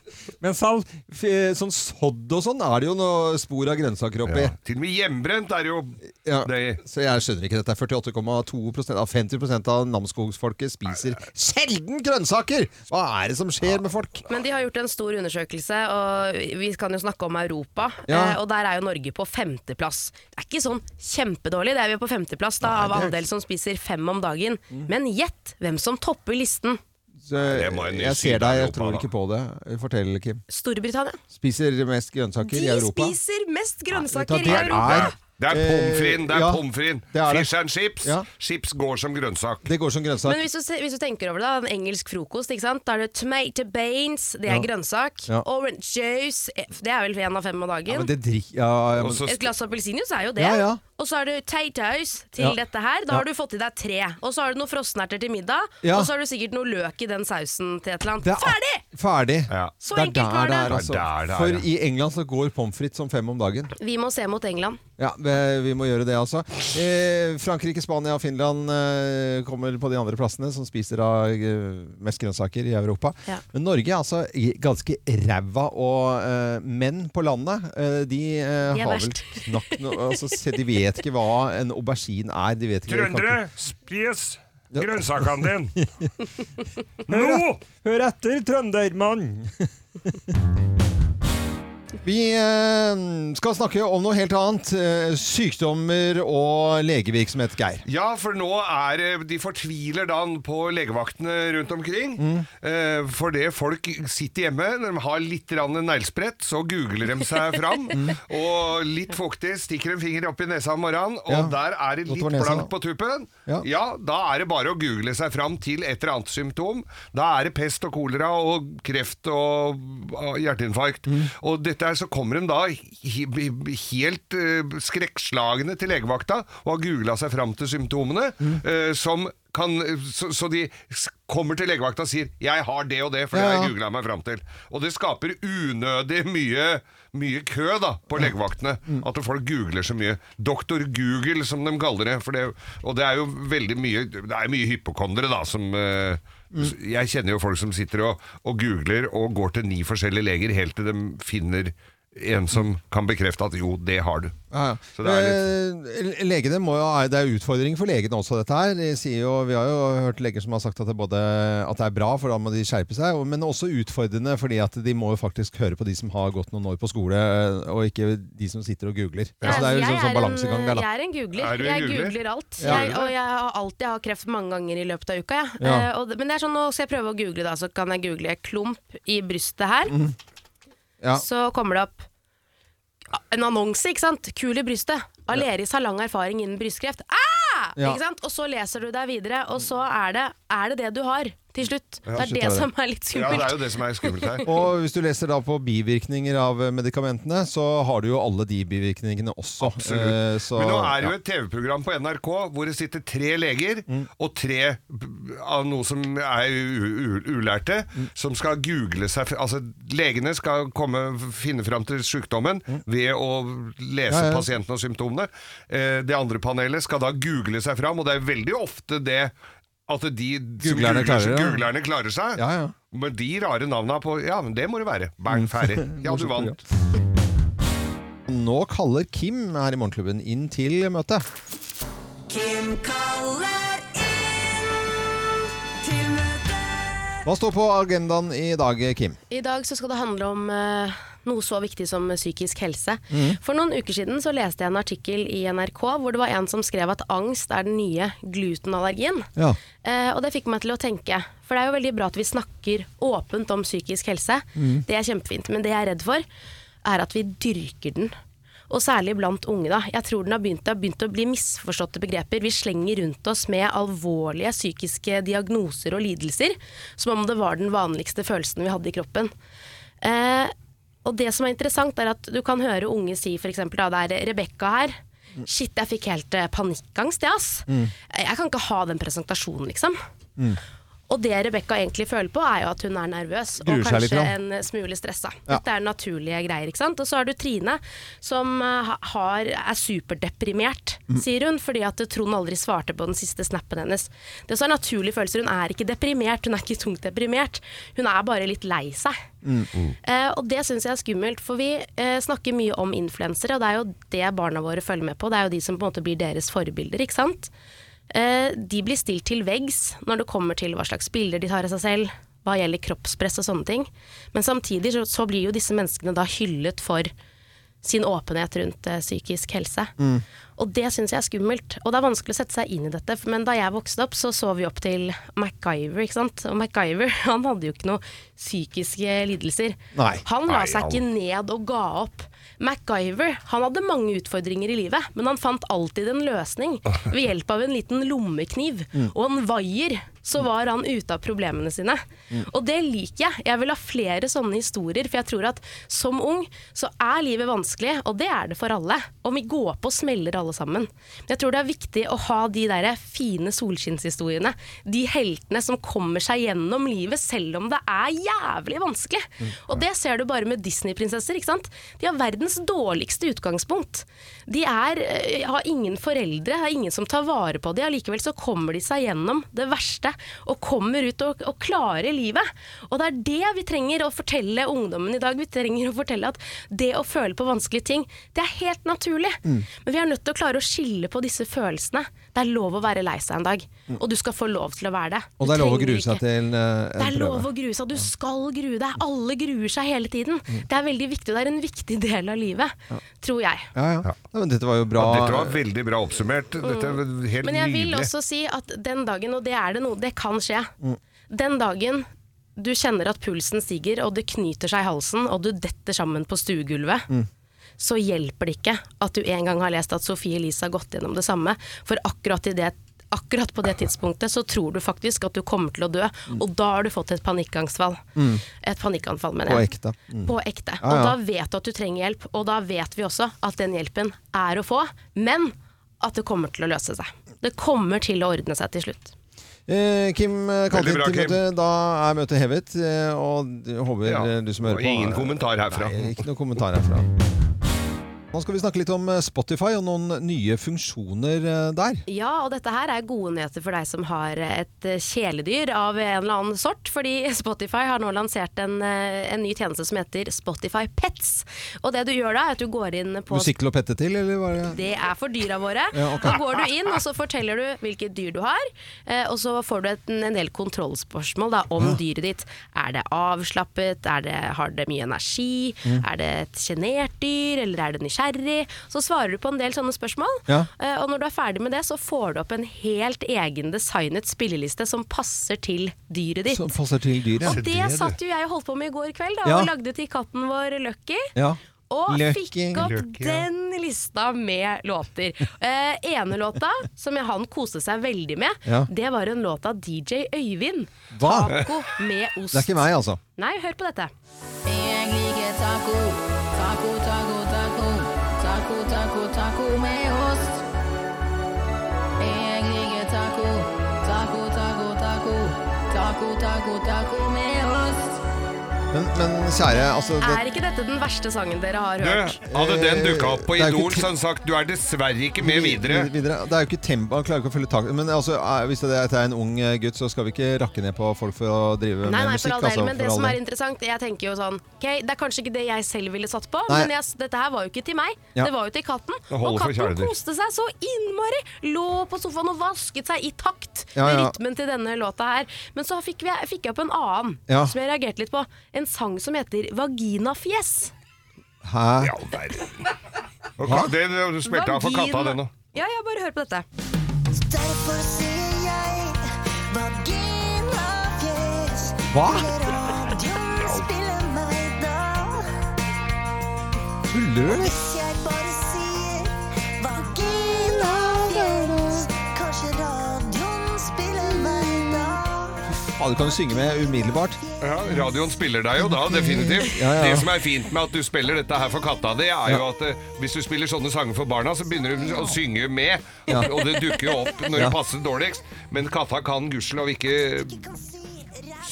S4: Men Sal, f- eh, sånn sodd og sånn er det jo noe spor av grønnsaker oppi.
S6: Ja. Til og med hjemmebrent er det jo
S4: Ja, Så jeg skjønner ikke dette. 48,2 av 50 av namsskogsfolket spiser sjelden grønnsaker! Hva er det som skjer med folk?
S5: Men de har gjort en stor undersøkelse, og vi kan jo snakke om Europa.
S4: Ja.
S5: Eh, og der er jo Norge på femteplass. Det er ikke sånn kjempedårlig, det er vi på femteplass da, av
S4: det er Mm.
S5: andel som spiser fem om dagen. Men gjett hvem som topper listen!
S4: Så jeg ser deg, jeg tror ikke på det. Fortell, Kim.
S5: Storbritannia.
S4: Spiser mest grønnsaker i
S5: De
S4: Europa?
S5: spiser mest
S4: Nei,
S5: grønnsaker
S4: vet du
S5: i
S4: hva, det
S5: Europa!
S4: er-
S6: Det er pommes frites. Det er
S4: Eh, ja,
S6: pommes frites.
S4: det er det.
S6: Fish and chips. Chips går som grønnsak.
S4: Det går som grønnsak.
S5: Men hvis du, se- hvis du tenker over det, da, en engelsk frokost, ikke sant? da er det tomato beans, det er
S4: Ja.
S5: grønnsak.
S4: Ja.
S5: Orange juice, eh, det er vel en av fem om dagen.
S4: Ja, men det drikker ja, ja, men-
S5: Et glass appelsinjuice er jo det.
S4: Ja, ja.
S5: Og så er det tatous til
S4: Ja.
S5: dette her.
S4: Ja.
S5: Da har du fått i deg tre. Og så har du noen frosnerter til middag,
S4: Ja.
S5: og så har du sikkert noe løk i den sausen til et eller annet.
S4: Det er-
S5: Ferdig!
S4: Ferdig!
S5: Så
S4: Det er
S5: enkelt
S4: der
S5: var det.
S4: det er, altså.
S6: Det er der det er,
S4: For
S6: ja.
S4: i England så går pommes frites som fem om dagen.
S5: Vi må se mot England.
S4: Ja, vi- vi må gjøre det, altså. Eh, Frankrike, Spania og Finland eh, kommer på de andre plassene som spiser av eh, mest grønnsaker i Europa.
S5: Ja.
S4: Men Norge er altså i- ganske ræva, og eh, menn på landet, eh, de, eh,
S6: De er
S4: har vel
S6: verst.
S4: knapt noe altså, se, De vet ikke hva en aubergine er. De vet ikke,
S17: Trøndere, spis grønnsakene dine.
S6: *laughs*
S17: Nå!
S4: Hør etter, trøndermann! Vi eh, skal snakke om noe helt annet. eh, Sykdommer og legevirksomhet, Geir.
S6: Ja, for nå er det- de fortviler da på legevaktene rundt omkring. Eh, For det folk sitter hjemme, når de har litt grann neglesprett, så googler de seg fram. Og litt fuktig, stikker en finger opp i nesa om morgenen, og
S4: Ja,
S6: der er det litt
S4: mot nesa.
S6: blankt på tuppen. Ja.
S4: Ja.
S6: da er det bare å google seg fram til et eller annet symptom. Da er det pest og kolera og kreft og og hjerteinfarkt.
S4: Mm.
S6: Og dette her så kommer de da he- he- helt eh, skrekkslagne til legevakta og har googla seg fram til symptomene.
S4: Mm.
S6: eh, som kan, så, så de s- kommer til legevakta og sier 'jeg har det og det', for det har
S4: Ja, ja.
S6: jeg googla meg fram til. Og det skaper unødig mye, mye kø da, på legevaktene. At folk googler så mye. Doktor Google, som de kaller det. For det og det er jo veldig mye Det er mye hypokondere, da, som eh, s- Jeg kjenner jo folk som sitter og, og googler og går til ni forskjellige leger helt til de finner en som kan bekrefte at jo, det har du.
S4: Ja, ja.
S6: Så det er litt
S4: Eh, Legene må jo, det er utfordring for legene også, dette her. De sier jo, vi har jo hørt leger som har sagt at det, både, at det er bra, for da må de skjerpe seg. og- Men også utfordrende, fordi at de må jo faktisk høre på de som har gått noen år på skole, eh, og ikke de som sitter og googler. Så det er jo
S5: Jeg
S4: liksom sånn balansegang der, da.
S5: en, jeg er en googler.
S4: Er du en
S5: jeg
S4: googler?
S5: googler alt.
S4: Ja.
S5: Jeg, og jeg har alltid hatt kreft mange ganger i løpet av uka. jeg.
S4: Ja.
S5: Eh, og, det- men det er sånn, nå skal jeg prøve å google, da, så kan jeg google klump i brystet her.
S4: Mm. Ja.
S5: Så kommer det opp en annonse, ikke sant? Kul i brystet. Aleris har lang erfaring innen brystkreft. Ah!
S4: Ja.
S5: Ikke sant? Og så leser du deg videre, og så er det er det, det du har til slutt.
S4: Ja, til
S5: det
S4: slutt
S5: er det,
S4: er det.
S5: som er litt
S6: Ja,
S5: skummelt.
S6: det er jo det som er skummelt her.
S4: Og hvis du leser da på bivirkninger av eh, medikamentene, så har du jo alle de bivirkningene også. Eh, så-
S6: Men nå er det jo
S4: ja. Mm.
S6: et TV-program på NRK hvor det sitter tre leger og tre b- av noe som er u- u- ulærte,
S4: Mm.
S6: som skal google seg fr- Altså, legene skal komme, finne fram til sykdommen ved å lese
S4: Mm. Ja, ja.
S6: pasienten og symptomene. Eh, Det andre panelet skal da google seg fram, og det er veldig ofte det at de som
S4: Googlerne klarer det, ja.
S6: googlerne klarer seg.
S4: Ja, ja.
S6: Med de rare navna på Ja, men det må det være. Bang,
S4: *laughs*
S6: ferdig. Ja, du vant.
S4: Nå kaller Kim her i Morgenklubben inn til møte.
S8: Kim kaller inn til møte.
S4: Hva står på agendaen i dag, Kim?
S5: I dag så skal det handle om eh, noe så viktig som psykisk helse.
S4: Mhm.
S5: For noen uker siden så leste jeg en artikkel i NRK hvor det var en som skrev at angst er den nye glutenallergien.
S8: Ja.
S5: Eh, og det fikk meg til å tenke, for det er jo veldig bra at vi snakker åpent om psykisk helse.
S8: Mhm.
S5: Det er kjempefint, men det jeg er redd for, er at vi dyrker den. Og særlig blant unge, da. Jeg tror den har begynt, det har begynt å bli misforståtte begreper. Vi slenger rundt oss med alvorlige psykiske diagnoser og lidelser, som om det var den vanligste følelsen vi hadde i kroppen. Eh, og det som er interessant, er at du kan høre unge si f.eks. da det er Rebekka her. Shit, jeg fikk helt eh, panikkangst, jeg, ass.
S8: Mm.
S5: Jeg kan ikke ha den presentasjonen, liksom. Og det Rebekka egentlig føler på, er jo at hun er nervøs og
S8: Gruer seg litt,
S5: kanskje
S8: ja.
S5: en eh, smule stressa.
S8: Ja.
S5: Dette er naturlige greier, ikke sant. Og så har du Trine, som eh, ha- har, er superdeprimert,
S8: Mm.
S5: sier hun, fordi at Trond aldri svarte på den siste snappen hennes. Det er også en naturlig følelse. Hun er ikke deprimert, hun er ikke tungt deprimert. Hun er bare litt lei seg.
S8: Mm.
S5: Eh, og det syns jeg er skummelt, for vi eh, snakker mye om influensere, og det er jo det barna våre følger med på. Det er jo de som på en måte blir deres forbilder, ikke sant. Eh, de blir stilt til veggs når det kommer til hva slags bilder de tar av seg selv, hva gjelder kroppspress og sånne ting. Men samtidig så, så blir jo disse menneskene da hyllet for sin åpenhet rundt eh, psykisk helse. Og det syns jeg er skummelt. Og det er vanskelig å sette seg inn i dette, men da jeg vokste opp, så så vi opp til MacGyver, ikke sant. Og MacGyver, *laughs* han hadde jo ikke noe psykiske lidelser.
S8: Nei.
S5: Han la
S8: Nei,
S5: seg ikke
S8: han-
S5: ned og ga opp. MacGyver han hadde mange utfordringer i livet, men han fant alltid en løsning ved hjelp av en liten lommekniv
S8: Mm.
S5: og en vaier. Så var han ute av problemene sine.
S8: Mm.
S5: Og det liker jeg. Jeg vil ha flere sånne historier, for jeg tror at som ung så er livet vanskelig, og det er det for alle. Og vi går på og smeller alle sammen. Men jeg tror det er viktig å ha de der fine solskinnshistoriene. De heltene som kommer seg gjennom livet selv om det er jævlig vanskelig. Og det ser du bare med Disney-prinsesser, ikke sant. De har verdens dårligste utgangspunkt. De er, eh, har ingen foreldre, har ingen som tar vare på dem. Allikevel så kommer de seg gjennom det verste og kommer ut og, og klarer livet. Og det er det vi trenger å fortelle ungdommen i dag. Vi trenger å fortelle at det å føle på vanskelige ting, det er helt naturlig.
S8: Mm.
S5: Men vi er nødt til å klare å skille på disse følelsene. Det er lov å være lei seg en dag,
S4: Mm.
S5: og du skal få lov til å være det.
S4: Og det er
S5: Du
S4: lov å
S5: trenger
S4: grue seg
S5: ikke-
S4: til eh,
S5: det
S4: en
S5: er lov
S4: prøve.
S5: å grue seg. Du skal grue deg. Alle gruer seg hele tiden. Det er veldig viktig, og det er en viktig del av livet, tror jeg.
S4: Mm. Ja, ja. Nei, men dette var jo bra.
S6: Ja, dette var veldig bra oppsummert. Dette er helt
S5: Mm. Men jeg vil
S6: nydelig.
S5: også si at den dagen, og det er det noe, det kan skje,
S6: Mm.
S5: den dagen du kjenner at pulsen stiger, og det knyter seg i halsen, og du detter sammen på stuegulvet,
S8: Mm.
S5: så hjelper det ikke at du en gang har lest at Sophie Elise har gått gjennom det samme, for akkurat i det Akkurat på det tidspunktet så tror du faktisk at du kommer til å dø, og da har du fått et panikkangstfall.
S4: Mm.
S5: Et panikkanfall, mener
S4: På
S5: jeg.
S4: ekte. Mm.
S5: På ekte.
S4: Ja,
S5: Og
S4: ja.
S5: da vet du at du trenger hjelp, og da vet vi også at den hjelpen er å få, men at det kommer til å løse seg. Det kommer til å ordne seg til slutt.
S4: Eh, Kim eh, kalte
S6: Veldig bra,
S4: til møte. Da er møtet hevet, eh, og jeg håper
S6: Ja.
S4: eh, du som hører
S6: Og
S4: på
S6: ingen kommentar herfra.
S4: Nei, ikke noe kommentar herfra. Nå skal vi snakke litt om eh, Spotify og noen nye funksjoner eh, der.
S5: Ja, og dette her er gode nyheter for deg som har et eh, kjæledyr av en eller annen sort, fordi *laughs* Spotify har nå lansert en, eh, en ny tjeneste som heter Spotify Pets. Og det du gjør da, er at du går inn på
S4: Musikk til å pette til, eller hva er det?
S5: Det er for dyra våre.
S4: Ja, ok.
S5: Da går du inn, og så forteller du hvilket dyr du har. eh, Og så får du et, en del kontrollspørsmål da, om dyret ditt. Er det avslappet? Er det, har det mye energi?
S8: Mm.
S5: Er det et sjenert dyr? Eller er det nysgjerrig? Så svarer du på en del sånne spørsmål.
S8: Ja.
S5: eh, Og når du er ferdig med det, så får du opp en helt egen designet spilleliste som passer til dyret ditt.
S4: Som passer til dyret.
S5: Og det satt jo jeg og holdt på med i går kveld, da,
S4: Ja.
S5: og lagde til katten vår Lucky.
S4: Ja.
S5: Og
S4: Lucky.
S5: fikk opp
S4: Lucky, ja.
S5: den lista med låter. *laughs* Eh, ene låta som jeg, han koste seg veldig med,
S4: Ja.
S5: det var en låt av DJ Øyvind.
S4: Hva?
S5: Taco med ost.
S4: Det er ikke meg, altså.
S5: Nei, hør på dette.
S8: Jeg liker taco. Taco, taco, taco. Taco, taco, taco med ost. Jeg liker taco. Taco, taco, taco. Taco, taco, taco med ost.
S4: Men, men kjære, altså det,
S5: Er ikke dette den verste sangen dere har
S6: Du,
S5: hørt?
S6: hadde den dukka opp på
S4: Det er jo
S6: Idol,
S4: ikke
S6: så hadde han sagt du er dessverre ikke med videre.
S4: Det er jo ikke tempo, han klarer ikke å følge tak Men altså, eh, hvis det er, det er en ung eh, gutt, så skal vi ikke rakke ned på folk for å drive med
S5: Nei, nei,
S4: musikk.
S5: for all del,
S4: altså, for
S5: men det
S4: all
S5: som
S4: del.
S5: er interessant Jeg tenker jo sånn Ok, det er kanskje ikke det jeg selv ville satt på
S4: Nei.
S5: Men jeg, dette her var jo ikke til meg
S4: Ja.
S5: Det var jo til katten
S4: Det holder
S5: Og
S4: for
S5: katten
S4: kjæledyr.
S5: koste seg så innmari Lå på sofaen og vasket seg i takt
S4: Ja,
S5: Med
S4: ja.
S5: rytmen til denne låta her Men så fikk, vi, fikk jeg opp en annen
S4: Ja.
S5: Som jeg reagerte litt på En sang som heter Vaginafjes
S4: Hæ?
S6: Og ka- det du spilte av for
S5: Vagina-
S6: katta, det nå.
S5: Ja, ja, bare hør på dette
S8: Derfor sier jeg vaginafjes.
S4: Hva?
S8: Radioen spiller meg da.
S4: Tuller du, eller?
S8: Hvis jeg bare sier vaginafjes, kanskje radioen spiller meg da.
S4: Ja, du kan jo synge med umiddelbart.
S6: Ja, radioen spiller deg jo da, definitivt.
S4: Ja, ja.
S6: Det som er fint med at du spiller dette her for katta di, er jo at eh, hvis du spiller sånne sanger for barna, så begynner de å synge med,
S4: Ja.
S6: og, og det dukker jo opp når
S4: Ja.
S6: det passer dårligst. Men katta kan gudskjelov ikke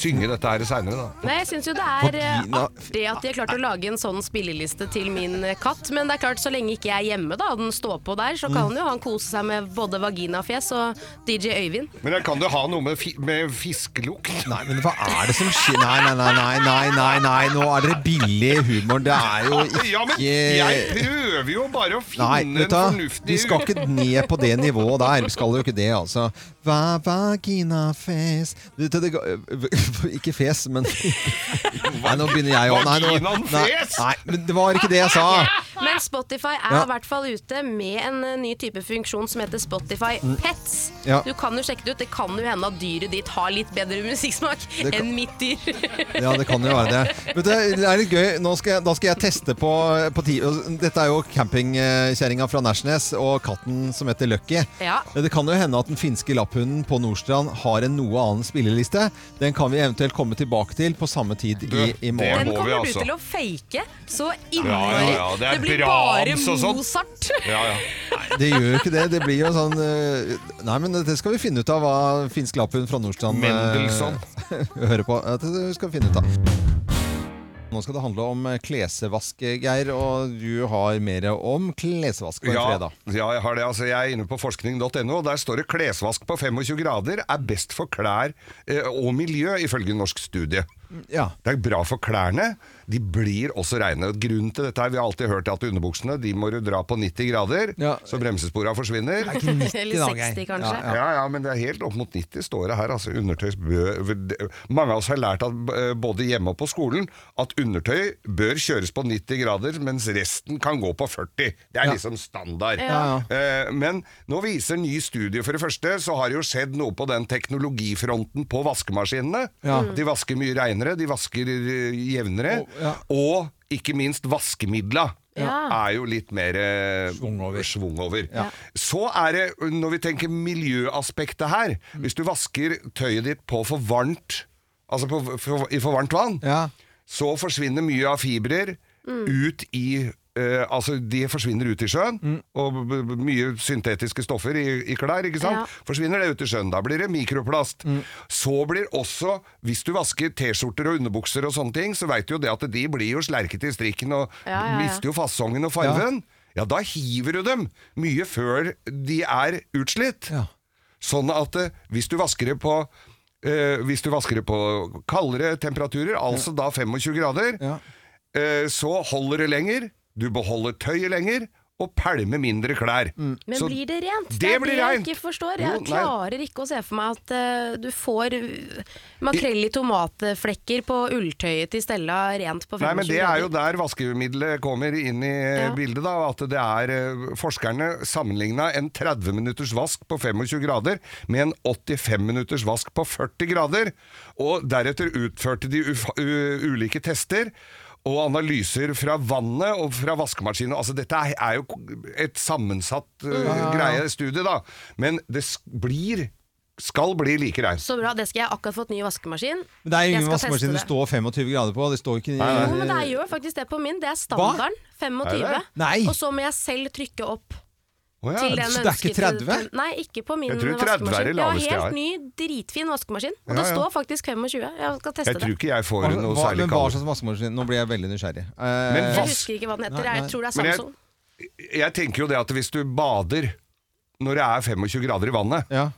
S6: synge dette her seinere, da.
S5: Nei, jeg syns jo det er eh,
S6: Vagina-
S5: artig at de har klart å lage en sånn spilleliste til min eh, katt. Men det er klart, så lenge ikke jeg er hjemme da, og den står på der, så kan
S6: Mm.
S5: jo han kose seg med både vaginafjes og DJ Øyvind.
S6: Men jeg kan jo ha noe med, fi med fiskelukt?
S4: Nei, men hva er det som skjer? Nei, nei, nei, nei, nei, nei, nei. nå er dere billig humor. Det er jo ikke
S6: Ja, men jeg prøver jo bare å finne
S4: Nei,
S6: en
S4: vet du,
S6: fornuftig
S4: vi skal ikke ned på det nivået der. Vi skal jo ikke det, altså. Hva vaginafes Du, det- det ga- *laughs* Ikke fes, men Nei, nå begynner jeg òg. Nei, nå- nei,
S5: Vaginanfes?
S4: nei, men det var ikke det jeg sa.
S5: Men Spotify er i
S4: Ja.
S5: hvert fall ute med en eh, ny type funksjon som heter Spotify
S4: Mm.
S5: Pets.
S4: Ja.
S5: Du kan jo sjekke det ut. Det kan jo hende at dyret ditt har litt bedre musikksmak
S4: Det kan-
S5: enn mitt dyr.
S4: Ja, det kan jo være det. Vet du, det er litt gøy. Nå skal jeg, da skal jeg teste på, på ti og Dette er jo campingkjerringa fra Nærsnes og katten som heter Lucky.
S5: Ja.
S4: Det kan jo hende at den finske lapphunden på Nordstrand har en noe annen spilleliste. Den kan vi eventuelt komme tilbake til på samme tid i, i morgen.
S5: Den kommer du til å fake
S4: altså.
S5: så
S4: Ja,
S5: innmari.
S4: ja, ja, det er
S5: det blir bare
S4: Brahms og sånt.
S5: Mozart.
S4: Nei, Det gjør jo ikke det. Det blir jo sånn eh, Nei, men det skal vi finne ut av hva finsk lapphund fra Nordstrand eh,
S6: Mendelssohn.
S4: *laughs* hører på. Ja, Det skal vi finne ut av. Nå skal det handle om eh, klesvask, Geir, og du har mer om klesvask på en
S6: ja,
S4: fredag.
S6: Ja, jeg har det. Altså, jeg er inne på forskning.no, og der står det 'klesvask på 25 grader er best for klær eh, og miljø', ifølge norsk studie.
S4: Ja.
S6: Det er bra for klærne. De blir også reine. Grunnen til dette er, Vi har alltid hørt at underbuksene de må du dra på 90 grader, så bremsespora forsvinner.
S5: Det er ikke
S6: *laughs*
S5: 90 Eller da, Geir. 60 kanskje.
S6: Ja, ja. ja, ja, men det er helt opp mot 90 står det her. Altså, undertøy bør, mange av oss har lært at, eh, både hjemme og på skolen at undertøy bør kjøres på 90 grader, mens resten kan gå på 40. Det er
S4: Ja.
S6: liksom standard.
S4: Ja,
S6: Eh, Men nå viser ny studie for det første, så har det jo skjedd noe på den teknologifronten på vaskemaskinene.
S4: Ja. Mm.
S6: De vasker mye reinere, de vasker eh, jevnere, og ikke minst vaskemidla.
S4: Ja.
S6: er jo litt mer svung over. Så er det, når vi tenker miljøaspektet her, hvis du vasker tøyet ditt på for varmt, altså på, for, i for varmt vann, så forsvinner mye av fibrer
S17: Mm.
S6: ut i eh, altså De forsvinner ut i sjøen,
S17: Mm.
S6: og b- b- mye syntetiske stoffer i, i klær. ikke sant?
S17: Ja. Mm.
S6: Forsvinner det ut i sjøen, da blir det mikroplast. Så blir også, hvis du vasker T-skjorter og underbukser og sånne ting, så veit du jo det at de blir jo slerket i strikken og
S17: Ja, ja, ja.
S6: mister jo fasongen og farven. Ja. da hiver du dem mye før de er utslitt. Sånn at eh, hvis du vasker det på eh, hvis du vasker det på kaldere temperaturer, altså da 25 grader, eh, så holder det lenger, du beholder tøyet lenger, og pælmer mindre klær.
S5: Mm. Men
S6: Så
S5: blir det rent?
S6: Det,
S5: Det, er
S6: blir
S5: det jeg
S6: rent!
S5: ikke forstår. Jeg
S6: Jo, nei.
S5: klarer ikke å se for meg at eh, du får uh, makrell i tomatflekker på ulltøyet til Stella rent på 25
S6: Nei, men Det er jo
S5: grader.
S6: der vaskemiddelet kommer inn i eh,
S5: Ja.
S6: bildet. da, at det er eh, Forskerne sammenligna en 30 minutters vask på 25 grader med en 85 minutters vask på 40 grader. og Deretter utførte de uf- u ulike tester. Og analyser fra vannet og fra vaskemaskinen. Altså, dette er- er jo et sammensatt eh,
S5: Ja, ja, ja.
S6: greie studie, da. Men det sk- blir skal bli like reint.
S5: Så bra, det skal jeg jeg har akkurat fått ny vaskemaskin.
S4: Men det er jo
S5: Jeg
S4: ingen
S5: skal teste
S4: vaskemaskin det
S5: det.
S4: står 25 grader på. Det står ikke
S5: Jo, men det er- gjør faktisk det på min. Det er standarden.
S4: Er
S5: 25.
S4: det? Nei.
S5: Og så må jeg selv trykke opp.
S6: Å ja.
S5: Til den
S6: Så det er ikke
S5: menneskefri-
S6: 30?
S5: Nei, ikke på min
S6: Jeg tror 30 er det
S5: vaskemaskin. Jeg
S6: laveste jeg
S5: har
S6: har.
S5: helt ny, dritfin vaskemaskin. Og
S4: Ja,
S5: det
S4: ja.
S5: står faktisk 25. Jeg skal teste
S6: Jeg tror ikke jeg får
S4: Hva-
S6: noe
S4: Altså, hva-
S6: særlig
S4: Men hva
S6: kald.
S4: slags vaskemaskin? Nå blir jeg veldig nysgjerrig. Eh,
S6: Men
S5: det.
S6: vask-
S5: Jeg husker ikke hva den heter.
S6: Nei,
S5: Jeg tror det er
S6: Men jeg-
S5: Samsung.
S6: Jeg tenker jo det at hvis du bader når det er 25 grader i vannet,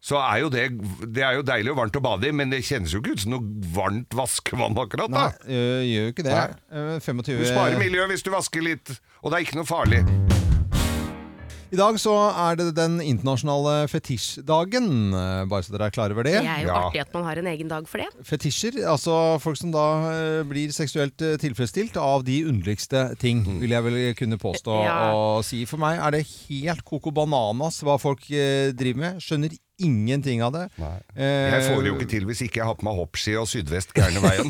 S6: så er jo det Det er jo deilig og varmt å bade i, men det kjennes jo ikke ut som noe varmt vaskevann akkurat da.
S4: Nei, øh, gjør jo ikke det. Eh, 25
S6: Du sparer miljøet hvis du vasker litt, og det er ikke noe farlig.
S4: I dag så er det den internasjonale fetisjdagen, eh, bare så dere er klar over
S5: Det
S4: det.
S5: er jo artig at man har en egen dag for det.
S4: Fetisjer, altså folk som da eh, blir seksuelt eh, tilfredsstilt av de underligste ting,
S6: Mm.
S4: vil jeg vel kunne påstå
S5: Ja.
S4: å si. For meg er det helt koko bananas hva folk eh, driver med. Skjønner ingenting av det. Eh,
S6: Jeg får det jo ikke til hvis ikke jeg har på meg hoppski og sydvest gærne veien.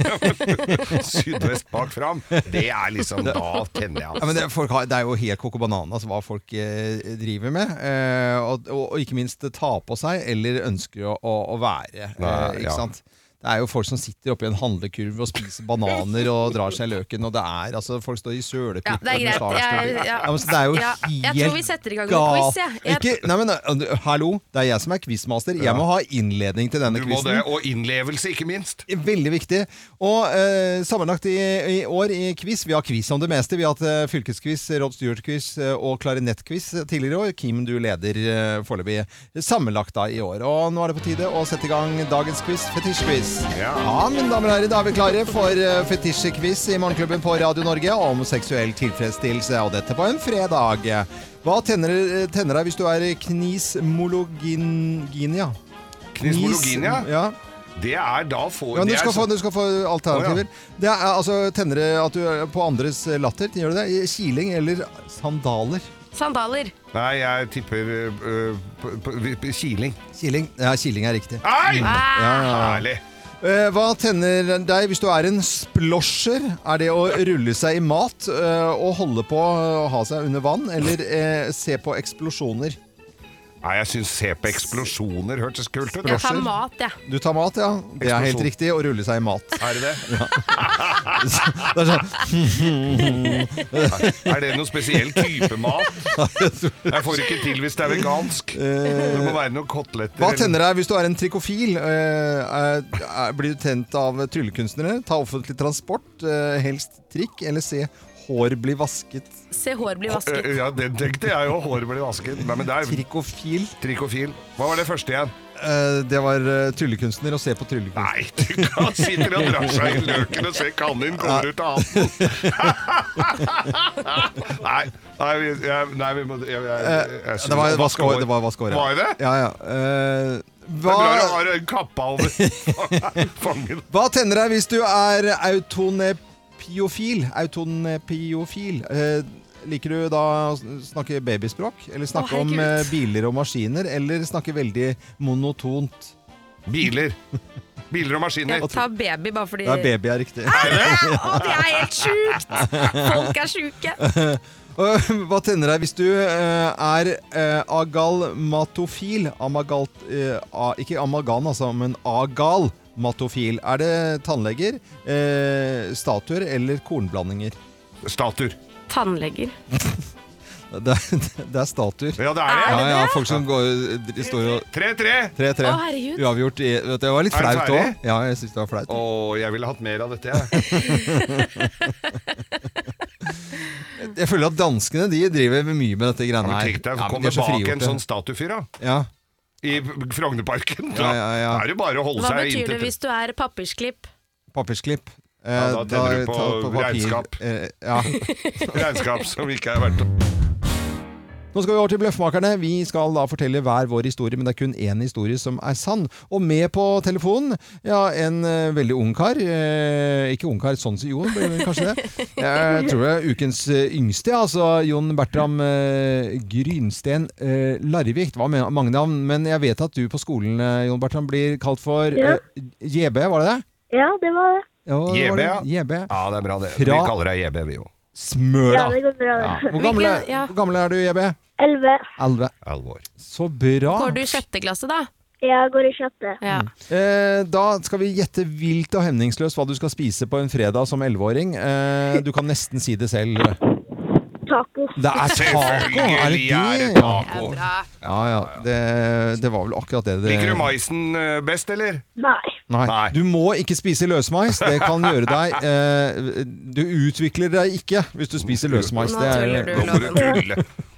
S6: *laughs* sydvest bak fram. Det er liksom Da tenner jeg
S4: Ja, men det, er- folk har, det er jo helt koko bananas hva folk eh, driver med. Eh, og, og, og ikke minst ta på seg, eller ønsker å, å, å være.
S6: Nei,
S4: eh, ikke
S6: ja.
S4: sant? Det er jo folk som sitter oppi en handlekurv og spiser bananer og drar seg løken. Og det er altså Folk står i
S5: Ja,
S4: sølepytter.
S5: det er
S4: med
S5: greit.
S4: slagstøv.
S5: Jeg- ja.
S4: Ja, men så det er jo
S5: Ja, jeg tror vi setter i gang med
S4: gal-
S5: quiz, jeg. Jeg-
S4: Ikke, nei, men, uh, hallo, det er jeg som er quizmaster. Jeg må ha innledning til denne
S6: Du må
S4: quizen.
S6: det, og innlevelse, ikke minst.
S4: Veldig viktig. Og eh, sammenlagt i, i år i quiz, vi har quiz om det meste. Vi har hatt eh, fylkesquiz, Rod Stewart-quiz eh, og klarinettquiz tidligere i år. Kim, du leder eh, foreløpig sammenlagt da i år. Og nå er det på tide å sette i gang dagens quiz, fetisjquiz. Ja. mine damer og herrer, da er vi klare for eh, fetisjequiz i Morgenklubben på Radio Norge om seksuell tilfredsstillelse, og dette på en fredag. Hva tenner, tenner deg hvis du er knismologinia?
S6: Knismologinia?
S4: Knis- Ja.
S6: Det er da får
S4: Ja, men
S6: det
S4: du,
S6: er
S4: skal få,
S6: sånn-
S4: du skal få alternativer.
S6: Å,
S4: Det er altså tennere at du er på andres latter. Gjør du det? I Kiling eller sandaler?
S5: Sandaler.
S6: Nei, jeg tipper øh, p- p- p- kiling.
S4: Kiling. Ja, kiling er riktig.
S6: Ei!
S4: Ah. Ja,
S6: Herlig.
S4: Eh, Hva tenner deg hvis du er en splosjer? Er det å rulle seg i mat eh, og holde på å ha seg under vann, eller eh, se på eksplosjoner?
S6: Nei, jeg syns se på eksplosjoner hørtes kult ut.
S5: Jeg tar mat, jeg.
S4: Du tar mat, ja. Det er helt
S6: Eksplosjon.
S4: riktig. Å rulle seg i mat.
S6: Er det det?
S4: *laughs* Det er sånn
S6: *laughs* Er det noen spesiell type
S4: *laughs*
S6: mat? Jeg får ikke til hvis det er vegansk. Det må være noen koteletter.
S4: Eh. Hva tenner deg hvis du er en trikofil? Eh, er- er- blir du tent av tryllekunstnere? Ta offentlig transport, eh, helst trikk, eller se hår bli vasket?
S5: Se hår bli
S4: øh,
S5: vasket.
S6: Eh, Ja, den tenkte jeg jo. Håret ble vasket. Nei, men det er...
S4: Trikofil.
S6: Trikofil. Hva var det første igjen?
S4: Eh, det var eh, tryllekunstner og se på tryllekunstner.
S6: Nei, du Han sitter og drar seg i løken og ser kanin kommer ut av hatten. *laughs* Nei, nei, vi- jeg, nei, vi må jeg, jeg, jeg, jeg
S4: Eh, det var vaske hår. Det var vaske hår, ja.
S6: Var det?
S4: Ja, ja. Eh,
S6: Det er bra du
S4: hva,
S6: har en kappa over *laughs* fangen.
S4: hva tenner deg hvis du er autonepiofil? Autonepiofil. Eh, liker du da å sn- snakke babyspråk? Eller snakke
S5: Å,
S4: om
S5: herregud.
S4: eh, biler og maskiner? Eller snakke veldig monotont?
S6: Biler. Biler og maskiner.
S5: Jeg tar baby bare fordi
S4: Det er baby, er riktig. *laughs*
S5: Å, det er helt sjukt! Folk er sjuke.
S4: Og eh, Hva tenner deg hvis du eh, er eh, agalmatofil? Amagalt, eh, a, ikke amalgam, altså, men agalmatofil. Er det tannleger, eh, statuer eller kornblandinger?
S6: Statuer.
S5: Tannleger.
S4: Det, er- *laughs* det er statuer.
S6: Ja, det
S5: det?
S4: Ja, ja, folk som går, de står og
S6: 3-3!
S4: 3-3.
S5: Å, herregud.
S4: Uavgjort. i- vet du, Det var litt
S6: Er den
S4: flaut
S6: ferdig?
S4: òg. Ja, jeg syns det var flaut.
S6: Å, jeg ville hatt mer av dette, jeg.
S4: Jeg føler at danskene de driver mye med dette greiene
S6: Men
S4: her.
S6: Tenk deg
S4: Ja,
S6: å
S4: men
S6: komme
S4: de er så
S6: bak en
S4: frigjorte.
S6: sånn statuefyr, da.
S4: ja.
S6: I Frognerparken. Da
S4: Ja, ja,
S6: er det bare å holde
S5: Hva
S6: seg
S5: betyr det
S6: inntil
S5: hvis du er papirsklipp?
S4: Papirsklipp. Eh,
S6: Ja, da tenner du på
S4: ta- papir-
S6: regnskap.
S4: eh, ja.
S6: regnskap som ikke er verdt å
S4: Nå skal vi over til Bløffmakerne. Vi skal da fortelle hver vår historie, men det er kun én historie som er sann. Og med på telefonen, ja, en eh, veldig ung kar. Eh, ikke ung kar, sånn som Jon, blir det vel kanskje
S7: *laughs*
S4: det. Jeg tror det er ukens eh, yngste, ja, altså Jon Bertram eh, Grynsten eh, Larvik. Det var me- mange navn, men jeg vet at du på skolen, eh, Jon Bertram, blir kalt for
S7: Ja.
S4: eh, JB, var det det?
S7: Ja, det var det.
S4: Ja, det var
S6: JB,
S4: det.
S6: ja.
S4: JB.
S6: Ja, det er bra, det. Vi
S4: Fra-
S6: kaller deg JB, vi òg.
S4: Smøla!
S7: Ja, det går bra, det.
S4: Hvor gammel er,
S5: Hvilken- ja.
S4: hvor gammel er du, JB?
S7: Elleve.
S4: Elleve. Så bra.
S5: Går du i sjette klasse, da?
S7: Jeg går i sjette.
S5: Ja.
S4: Eh, da skal vi gjette vilt og hemningsløst hva du skal spise på en fredag som elleveåring. Eh, du kan nesten si det selv.
S7: Ta taco.
S4: Det er taco! Er det
S6: Selvfølgelig er det
S4: det?
S6: taco.
S4: Ja, ja. ja. Det, det var vel akkurat det det
S6: Liker du maisen eh, best, eller?
S7: Nei.
S4: Nei. Du må ikke spise løsmeis. Det kan gjøre deg eh, Du utvikler deg ikke hvis du spiser løsmeis.
S6: Nå
S4: Det
S6: tuller
S4: er,
S6: du, Nå må du Loven. tulle.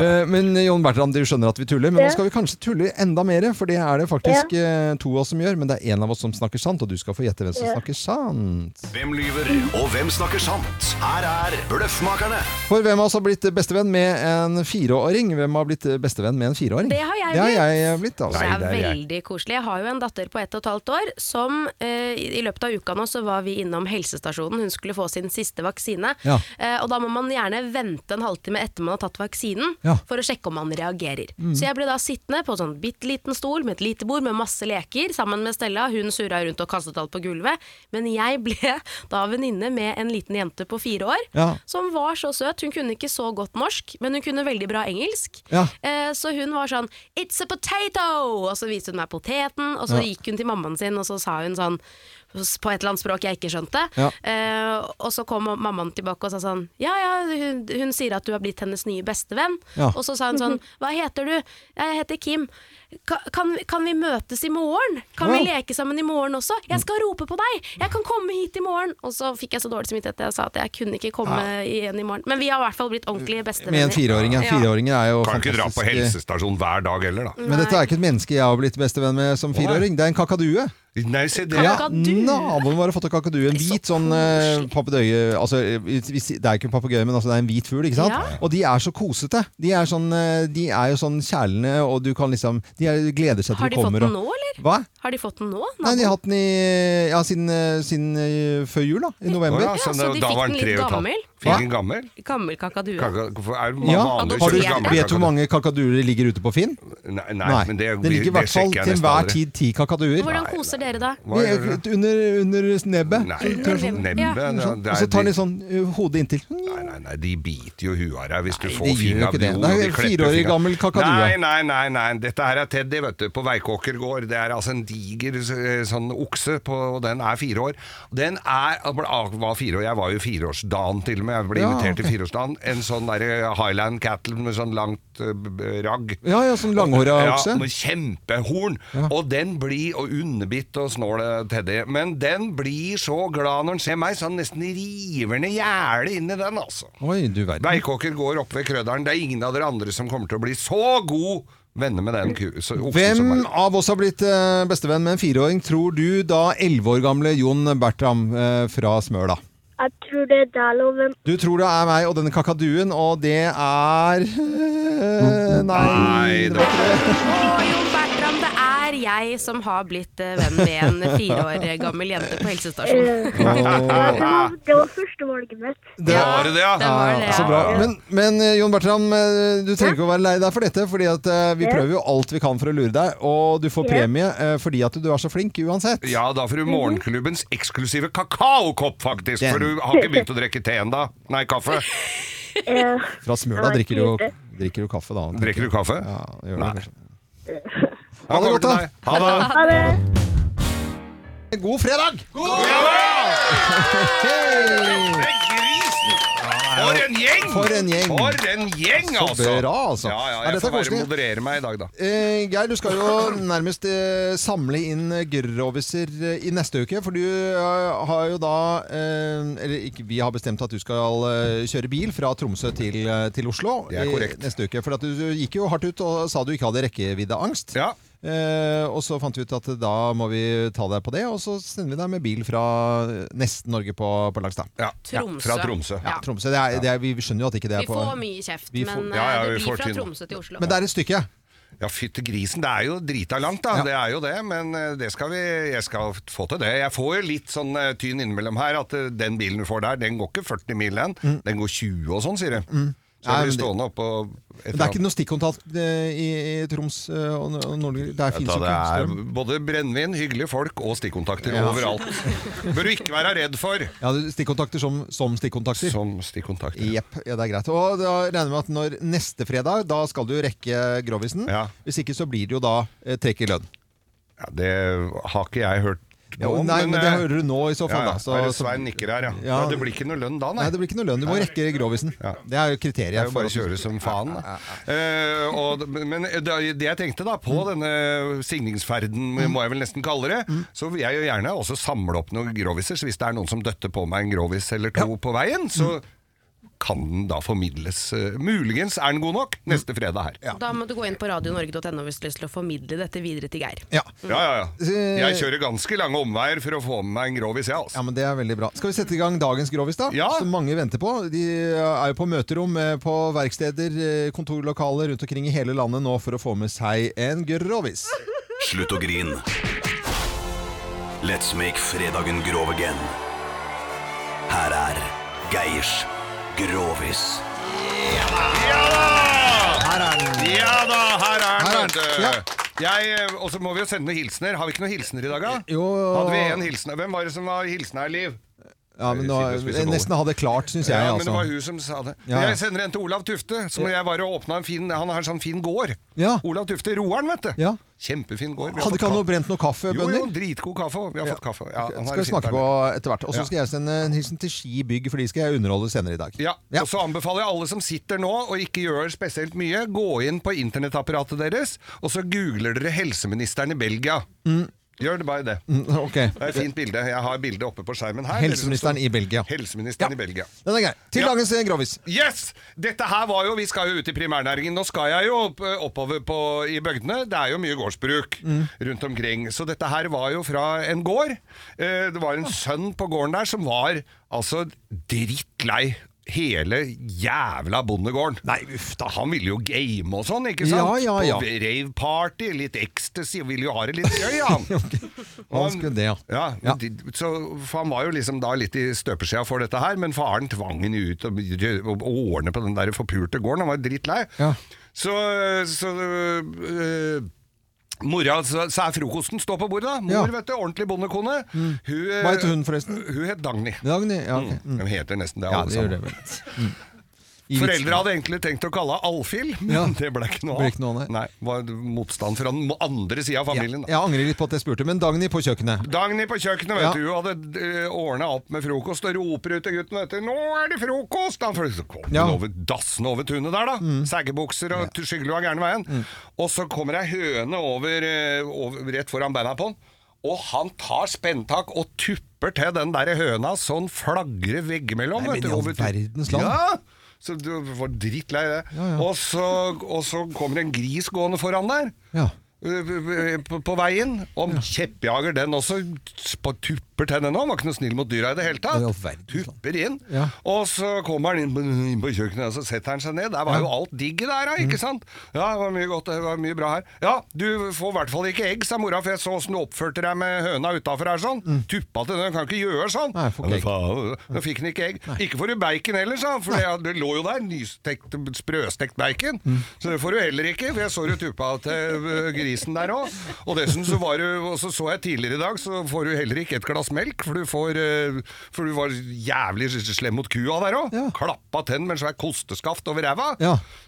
S4: Eh, Men Jon Bertrand, du skjønner at vi tuller, men
S18: Ja.
S4: nå skal vi kanskje tulle enda mer. For det er det faktisk eh, to av oss som gjør, men det er én av oss som snakker sant, og du skal få gjette hvem som
S18: Ja.
S4: snakker sant.
S18: Hvem lyver, og hvem snakker sant? Her er Bløffmakerne.
S4: For hvem av oss har blitt bestevenn med en fireåring? Hvem har blitt bestevenn med en fireåring?
S5: Det har jeg
S4: Det
S5: blitt.
S4: har jeg blitt, altså.
S5: Det er veldig koselig. Jeg har jo en datter på ett og et halvt år som eh, i i løpet av uka nå så var vi innom helsestasjonen. Hun skulle få sin siste vaksine.
S19: Ja.
S5: Eh, og da må man gjerne vente en halvtime etter man har tatt vaksinen
S19: Ja.
S5: for å sjekke om man reagerer.
S19: Mm.
S5: Så jeg ble da sittende på en sånn bitte liten stol med et lite bord med masse leker sammen med Stella. Hun surra rundt og kastet alt på gulvet. Men jeg ble *laughs* da venninne med en liten jente på fire år
S19: Ja.
S5: som var så søt. Hun kunne ikke så godt norsk, men hun kunne veldig bra engelsk.
S19: Ja.
S5: Eh, Så hun var sånn 'It's a potato!' Og så viste hun meg poteten, og så
S19: Ja.
S5: gikk hun til mammaen sin, og så sa hun sånn på et eller annet språk jeg ikke skjønte.
S19: Ja.
S5: Eh, og så kom mammaen tilbake og sa sånn Ja ja, hun, hun sier at du har blitt hennes nye bestevenn.
S19: Ja.
S5: Og så sa hun sånn Hva heter du? Jeg heter Kim. Ka, kan, kan vi møtes i morgen? Kan vi
S19: Ja.
S5: leke sammen i morgen også? Jeg skal rope på deg! Jeg kan komme hit i morgen! Og så fikk jeg så dårlig samvittighet at jeg sa at jeg kunne ikke komme igjen i morgen. Men vi har i hvert fall blitt ordentlige bestevenner.
S4: Med en fireåring. Ja.
S5: Ja.
S4: Fireåringer er jo
S6: Kan ikke dra på
S4: fantastiske-
S6: helsestasjon hver dag heller, da.
S4: Men dette er ikke et menneske jeg har blitt bestevenn med som fireåring. Det er en kakadue.
S6: Nei, se det.
S4: Ja,
S6: Kakadue?
S4: naboen vår har fått en kakadue. En hvit sånn eh, papegøye altså, eh, vi si- Det er ikke en papegøye, men altså, det er en hvit fugl. ikke sant?
S18: Ja.
S4: Og de er så kosete. De er, sånn, eh, de er jo sånn kjælende, og du kan liksom De er, gleder seg til
S5: Har
S4: du
S5: de fått
S4: kommer.
S5: den
S4: og-
S5: nå, eller?
S4: Hva?
S5: Har de fått den nå?
S4: Nei, de har hatt den i, ja, siden, eh, siden eh, før jul, da. I november.
S6: Å ja, så Ja, så da- de da fikk var den den litt tre og et halvt. gammel? Fikk den gammel?
S5: Gammel kakadue.
S6: Kaka- hvorfor Er man
S4: Ja.
S6: vanlig å
S4: Har du,
S6: kjøpe gammel
S4: vet du
S6: kakadu?
S4: hvor mange kakaduer ligger ute på Finn?
S6: Nei, nei, men det,
S4: ligger i hvert fall
S6: sjekker jeg
S4: til
S6: nesten
S4: enhver
S6: aldri.
S4: tid ti kakaduer.
S5: Hvordan koser dere da?
S4: Vi er Under, under nebbet.
S6: Nei,
S4: Sånn.
S6: nebbet,
S5: Ja.
S6: det er- det er-
S4: Og så tar de sånn ø, hodet inntil.
S6: Nei, nei, de biter jo huet av deg hvis du
S4: Nei,
S6: får
S4: de gjør
S6: fingeren
S4: ikke det.
S6: Jo,
S4: Det
S6: de
S4: er en
S6: klepper fingeren.
S4: fireårig gammel kakadue.
S6: Nei, nei, nei, nei. Dette her er Teddy, vet du, på Veikåker gård. Det er altså en diger eh, sånn okse, på, og den er fire år. Den er ah, var fire år. Jeg var jo fireårsdagen til og med. Jeg ble
S4: Ja,
S6: invitert
S4: ok.
S6: til fireårsdagen. En sånn der eh, Highland Cattle med sånn langt eh, b- b- ragg.
S4: Ja, ja, sånn langhåra okse.
S6: Ja, med kjempehorn. Og den blir og underbitt og snål eh, Teddy. Men den blir så glad når den ser meg, så han nesten river ned gjerdet inn i den, altså.
S4: Oi, du verden.
S6: Veikåker går opp ved Krøderen. Det er ingen av dere andre som kommer til å bli så god venner med den ku... Så, oksen som
S4: Hvem
S6: er-
S4: av oss har blitt ø, bestevenn med en fireåring, tror du da elleve år gamle Jon Bertram ø, fra Smøla?
S20: Jeg tror det er deg, Loven.
S4: Du tror det er meg og denne kakaduen, og det er ø, Nei. det var ikke det.
S5: Og Jon Bertram, det er jeg som har blitt eh, venn med en fire år gammel jente på helsestasjonen.
S20: Ja, det, var, det var førstevalget mitt.
S4: Det var det, ja. så bra. Men, men eh, Jon Bertram, eh, du trenger ikke å være lei deg for dette, fordi at eh, vi
S20: Ja.
S4: prøver jo alt vi kan for å lure deg, og du får
S6: Ja.
S4: premie eh, fordi at du er så flink uansett.
S6: Ja, da får du morgenklubbens eksklusive kakaokopp, faktisk. For
S4: Den.
S6: du har ikke begynt å drikke te ennå. Nei, kaffe.
S4: Fra Smøla
S6: Ja,
S4: drikker du, jo-
S6: lite.
S4: drikker du kaffe, da.
S6: Drikker du kaffe?
S4: Ja, gjør det.
S20: *laughs*
S4: kanskje.
S6: Ha det godt, da. Ha det.
S20: Ha det.
S4: God fredag!
S6: For en gjeng!
S4: For en gjeng.
S6: For en gjeng,
S4: Så
S6: altså!
S4: bra, altså.
S6: Ja, ja,
S4: Er
S6: jeg
S4: dette
S6: får være
S4: koselig?
S6: moderere meg i dag, da.
S4: Eh, Geir, du skal jo nærmest eh, samle inn eh, groviser eh, i neste uke, for du eh, har jo da eh, Eller ikke, vi har bestemt at du skal eh, kjøre bil fra Tromsø til, eh, til Oslo
S6: Det er
S4: eh,
S6: korrekt.
S4: neste uke. For at du gikk jo hardt ut og sa du ikke hadde rekkeviddeangst. Eh, og så fant vi ut at da må vi ta deg på det, og så sender vi deg med bil fra eh, nesten Norge på, på langs, da.
S6: Ja,
S5: Tromsø. fra Tromsø.
S4: Ja, Tromsø. Det er, det er, vi skjønner jo at ikke det er
S5: Vi
S4: på
S5: får mye kjeft,
S4: Vi får-
S5: men
S4: Ja, ja,
S5: eh, det
S4: vi får
S5: blir fra
S4: tynn.
S5: Tromsø til Oslo.
S4: Men det er et stykke.
S6: Ja, fytte grisen. Det er jo drita langt, da. Det er jo det. Men eh, det skal vi Jeg skal få til det. Jeg får jo litt sånn eh, tyn innimellom her at eh, den bilen du får der, den går ikke 40 mil den. Den går 20 og sånn, sier de.
S4: Mm.
S6: Så
S4: Nei,
S6: blir du
S4: men det-
S6: stående oppå
S4: Men det er ikke noe stikkontakt eh, i, i Troms eh, og, og Nord-Norge? Det er fin
S6: Vet du, det er
S4: sykkelstrøm?
S6: både brennevin, hyggelige folk og stikkontakter
S4: Ja.
S6: overalt. Bør du ikke være redd for.
S4: Ja, du- stikkontakter som, som stikkontakter?
S6: Som stikkontakter.
S4: Jepp, ja, det er greit. Og da regner jeg med at når neste fredag, da skal du rekke Grovisen. Hvis ikke så blir det jo da eh, trekk i lønn.
S6: Ja, det har ikke jeg hørt hørt
S4: Ja,
S6: nå.
S4: nei, men det
S6: eh,
S4: hører du nå i så fall,
S6: ja,
S4: da, så-
S6: bare
S4: så-
S6: Svein nikker her, ja. ja.
S4: Ja.
S6: Det blir ikke noe lønn da,
S4: Nei, det blir ikke noe lønn. Du må rekke grovisen. Det er jo kriteriet.
S6: Det er jo
S4: for
S6: bare å
S4: at du
S6: kjøre som faen. Da. Eh, og, men det, det jeg tenkte da, på denne signingsferden, må jeg vel nesten kalle det, så vil jeg jo gjerne også samle opp noen groviser. Så hvis det er noen som døtter på meg en grovis eller to på veien, så kan den da formidles. Eh, Muligens er den god nok neste fredag her.
S5: Da må du gå inn på radionorge.no hvis du har lyst til å formidle dette videre til Geir.
S4: Ja.
S6: Ja, ja, Jeg kjører ganske lange omveier for å få med meg en grovis, jeg, altså.
S4: Ja, men Det er veldig bra. Skal vi sette i gang dagens Grovis, da?
S6: Ja.
S4: Som mange venter på. De eh, er jo på møterom, eh, på verksteder, eh, kontorlokaler rundt omkring i hele landet nå for å få med seg en Grovis.
S18: Slutt å grin. Let's make fredagen grov again. Her er Geirs Grovis.
S6: Her er den. Ja da, her er
S4: Her er
S6: den.
S4: den,
S6: vet du.
S4: ja.
S6: Jeg, eh, og så må vi jo sende noen hilsener. Har vi ikke noen hilsener i dag, da? Hadde vi en hilsen? Hvem var det som var hilsen her, Liv?
S4: Ja, men nå, jeg nesten hadde det klart, syns jeg.
S6: ja, men det
S4: altså.
S6: var hun som sa det.
S4: Ja, ja.
S6: Jeg sender en til Olav Tufte, som
S4: Ja.
S6: jeg var og åpna en fin Han har en sånn fin gård.
S4: Ja.
S6: Olav Tufte Roeren, vet du. Kjempefin gård. Vi har
S4: Hadde
S6: fått
S4: ikke han noe
S6: kaffe.
S4: brent noe
S6: Jo,
S4: kaffe,
S6: jo,
S4: bønder?
S6: dritgod kaffe. og Vi har fått kaffe. Ja, han har
S4: Skal vi
S6: sitt
S4: smake
S6: der
S4: på
S6: nede.
S4: etter hvert. Og
S6: Ja.
S4: så skal jeg sende en hilsen til Ski bygg, for de skal jeg underholde senere i dag.
S6: Ja, og så anbefaler jeg alle som sitter nå og ikke gjør spesielt mye, gå inn på internettapparatet deres, og så googler dere helseministeren i Belgia.
S4: Mm,
S6: Gjør det bare det.
S4: mm, *laughs* ok.
S6: Det er et fint bilde. Jeg har bildet oppe på skjermen her.
S4: Helseministeren i Belgia.
S6: Helseministeren i Belgia.
S4: Den er grei. Til dagens eh, Grovis.
S6: Yes! Dette her var jo Vi skal jo ut i primærnæringen. Nå skal jeg jo opp, eh, oppover på, i bygdene. Det er jo mye gårdsbruk rundt omkring. Så dette her var jo fra en gård. Eh, Det var en sønn på gården der som var altså drittlei. Hele jævla bondegården. Nei, uff da Han ville jo game og sånn, ikke sant?
S4: Ja, ja, ja.
S6: På rave-party, litt ecstasy, og ville jo ha det litt gøy, han.
S4: Han skulle det, ja.
S6: Ja, de- Så, for han var jo liksom da litt i støpeskjea for dette her, men faren tvang henne ut og, og ordne på den der forpulte gården, han var drittlei. Så, så øh, Mora sa sa frokosten står på bordet, da. Mor,
S4: Ja. Mm.
S6: vet du, ordentlig bondekone. Hun, øh,
S4: Hva heter hun, forresten?
S6: Hun het Dagny.
S4: Dagny, ja, ok.
S6: Mm. De heter nesten det,
S4: Ja,
S6: alle
S4: det gjør
S6: sammen.
S4: det vel. Mm. I vitsen.
S6: Foreldre hadde egentlig tenkt å kalle henne Alfhild, men
S4: Ja.
S6: *laughs* det ble ikke noe
S4: Ble
S6: av.
S4: ikke noe av det.
S6: Nei, var motstand fra den andre sida av familien. da.
S4: Jeg angrer litt på at jeg spurte, men Dagny på kjøkkenet.
S6: Dagny på kjøkkenet, vet
S4: Ja.
S6: du, hun hadde ordna opp med frokost og roper ut til gutten, vet du, 'Nå er det frokost!' Han følte- så kom hun
S4: Ja. Mm.
S6: over dassen over tunet der, da. Saggebukser og ja. skyggelua gærne veien. Og så kommer ei høne over, eh, over, rett foran beina på han, og han tar spenntak og tupper til den der høna så han flagrer veggimellom.
S4: Nei,
S6: vet
S4: men
S6: du,
S4: i all
S6: over tunet.
S4: verdens land.
S6: Ja! Så du var drittlei det. Og, så, og så kommer en gris gående foran der. Eh, På, på veien. Om kjeppjager den også. På tupper til den òg. Var ikke noe snill mot dyra i det hele tatt. Tupper inn.
S4: Ja.
S6: Og så kommer han inn på, inn på kjøkkenet, og så setter han seg ned. Der var jo alt digget der, da,
S4: Mm.
S6: ikke sant? Ja, det var mye godt, det var mye bra her. Ja, du får i hvert fall ikke egg, sa mora, for jeg så åssen du oppførte deg med høna utafor her sånn. Tuppa til den, kan ikke gjøre sånn. Nei,
S4: Mm. får ikke egg.
S6: da fikk den ikke egg. Ikke får du bacon heller, sa han, for det, det lå jo der, nystekt, sprøstekt bacon. Så det får du heller ikke, for jeg så du tuppa til ø, grisen der òg. Og dessuten så var du, og så så jeg tidligere i dag, så får du heller ikke et glass melk, for du får ø, For du var jævlig slem mot kua der òg. Klappa tenn med en svær kosteskaft over ræva.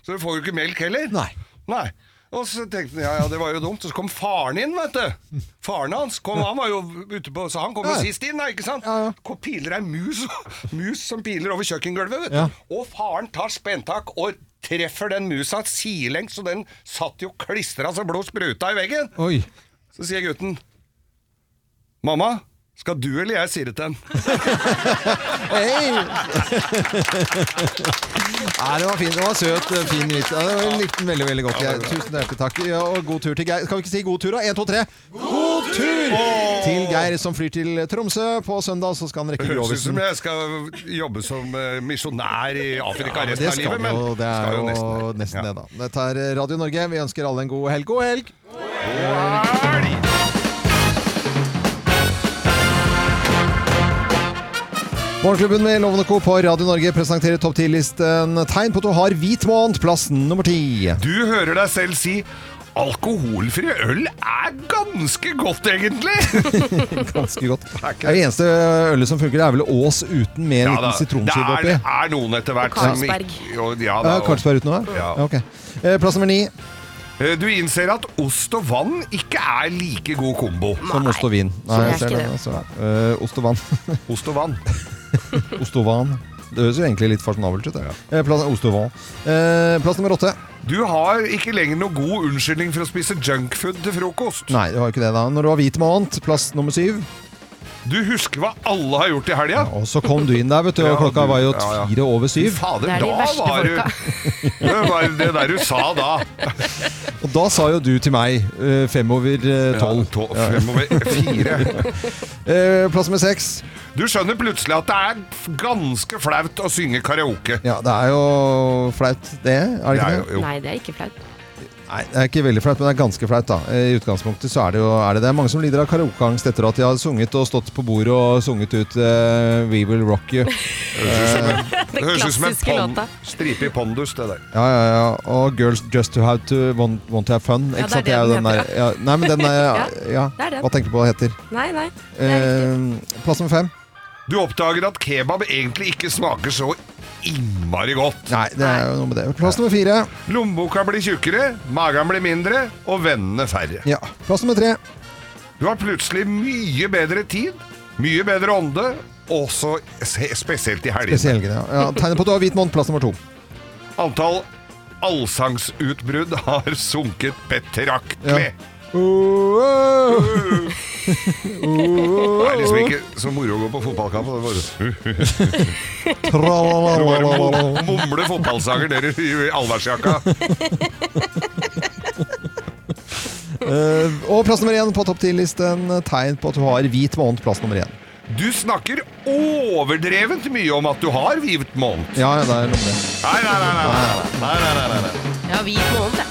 S6: Så du får jo ikke melk heller. Nei. Nei. Og så tenkte jeg, ja, ja, det var jo dumt. Og så kom faren inn, vet du. Faren hans, kom, han var jo ute på, så han kom jo
S4: Ja.
S6: sist inn, da, ikke sant? Kom, piler ei mus, mus som piler over kjøkkengulvet, vet du.
S4: Ja.
S6: Og faren tar spentak og treffer den musa sidelengs, og den satt jo klistra så blod spruta i veggen.
S4: Oi.
S6: Så sier gutten, mamma, skal du eller jeg si det til den?
S4: Hei! Nei, det var fint. Det var søt, eh, fin vits. Ja, det var- jeg likte den veldig veldig godt. Jeg, tusen hjertelig takk. Ja, og god tur til Geir. Skal vi ikke si god tur, da? Én, to, tre. God tur! Til Geir som flyr til Tromsø på søndag, så skal han rekke
S6: Høres ut som
S4: Grovisen.
S6: jeg skal jobbe som eh, misjonær i Afrika
S4: Ja, men
S6: resten
S4: det
S6: av
S4: skal
S6: livet,
S4: vi
S6: men
S4: jo, det er
S6: skal jo nesten
S4: jo nesten det, da. Dette er Radio Norge. Vi ønsker alle en god helg. God helg! Morgenklubben med Loven og Co. på Radio Norge presenterer topp 10-listen Tegn på at du har hvit måned, plass nummer ti.
S6: Du hører deg selv si Alkoholfri øl er ganske godt,
S4: *laughs*
S6: egentlig!
S4: Ganske
S6: *laughs*
S4: godt. Det er det eneste ølet som funker, det er vel Ås uten med en
S6: Ja da,
S4: liten sitronskive
S6: Det
S4: oppi.
S6: er, er noen etter hvert
S4: Og Carlsberg.
S6: som ikke- jo, ja, da,
S4: Ja, Karlsberg uten noe?
S6: Ja.
S4: Ok. Eh, Plass nummer ni.
S6: Eh, Du innser at ost og vann ikke er like god kombo.
S4: Som ost og vin. Nei,
S6: Som
S4: jeg
S6: ost-
S4: ser det. Altså. Eh, ost og vann. *laughs*
S6: ost og vann.
S4: ost og vann. Det høres jo egentlig litt fasjonabelt ut. det. Eh, Plass, ost og vann. Eh, plass nummer åtte.
S6: Du har ikke lenger noe god unnskyldning for å spise junkfood til frokost.
S4: Nei, det var jo ikke det, da. Når det var hvit måned, plass nummer syv.
S6: Du husker hva alle har gjort i helga.
S4: Og så kom du inn der, vet du, og klokka var jo fire over syv.
S6: Fader, da var du Det var det der du sa da.
S4: Og da sa jo du til meg eh, fem over eh, tolv. Ja,
S6: Fem over fire.
S4: Eh, plass nummer seks.
S6: Du skjønner plutselig at det er ganske flaut å synge karaoke.
S4: Ja, det er jo flaut, det. Er det ikke det?
S21: Nei, det er ikke flaut.
S4: Nei, det er ikke veldig flaut, men det er ganske flaut, da. Eh, I utgangspunktet så er det jo er det, det er mange som lider av karaokeangst etter at de har sunget og stått på bordet og sunget ut eh, We Will Rock You. Eh,
S6: Det høres ut som en pond, stripe i pondus, det der.
S4: Ja, ja, ja. Og Girls Just to Have to Want, want to Have Fun.
S21: Ja,
S4: Ikke
S21: det er
S4: sant?
S21: det
S4: er jo
S21: den
S4: der,
S21: heter,
S4: ja. Nei, men
S21: *laughs*
S4: den er ja,
S21: Ja, det er den.
S4: Hva tenker du på hva det heter?
S21: Nei, nei.
S4: Eh, plass nummer fem.
S6: Du oppdager at kebab egentlig ikke smaker så innmari godt.
S4: Nei, det er jo noe med det. Plass nummer fire.
S6: Lommeboka blir tjukkere, magen blir mindre, og vennene færre.
S4: Ja. Plass nummer tre.
S6: Du har plutselig mye bedre tid, mye bedre ånde, også se- spesielt i helgene.
S4: Spesielt helgene. Ja. Ja, tegnet på at du har hvit måned. Plass nummer to.
S6: Antall allsangsutbrudd har sunket betraktelig. Det er liksom ikke så moro å gå på fotballkamp. og Det er bare Du bare mum- mumler fotballsanger dere i allværsjakka.
S4: Eh, og plass nummer én på topp ti-listen. Tegn på at du har hvit måned. Plass nummer én.
S6: Du snakker overdrevent mye om at du har hvit måned.
S4: Ja, ja, det er noe med det.
S6: Nei, nei, nei. nei, nei, nei, nei, nei, nei.
S4: Eh.
S21: Ja, hvit måned, det.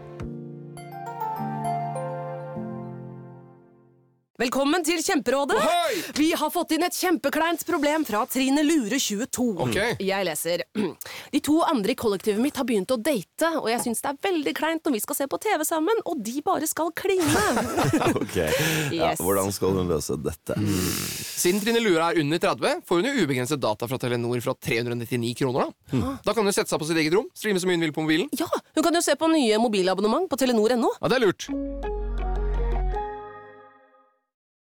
S5: Velkommen til Kjemperådet. Vi har fått inn et kjempekleint problem fra Trine Lure 22.
S22: Ok.
S5: Jeg leser. De to andre i kollektivet mitt har begynt å date, og jeg syns det er veldig kleint når vi skal se på TV sammen, og de bare skal kline.
S23: *laughs* Ok, ja,
S22: Yes.
S23: Hvordan skal hun løse dette?
S22: Siden Trine Lure er under 30, får hun jo ubegrenset data fra Telenor fra 399 kroner. Da
S23: Mm.
S22: Da kan hun sette seg på sitt eget rom, streame så mye hun vil på mobilen.
S5: Hun kan jo se på nye mobilabonnement på telenor.no.
S22: Ja, det er lurt.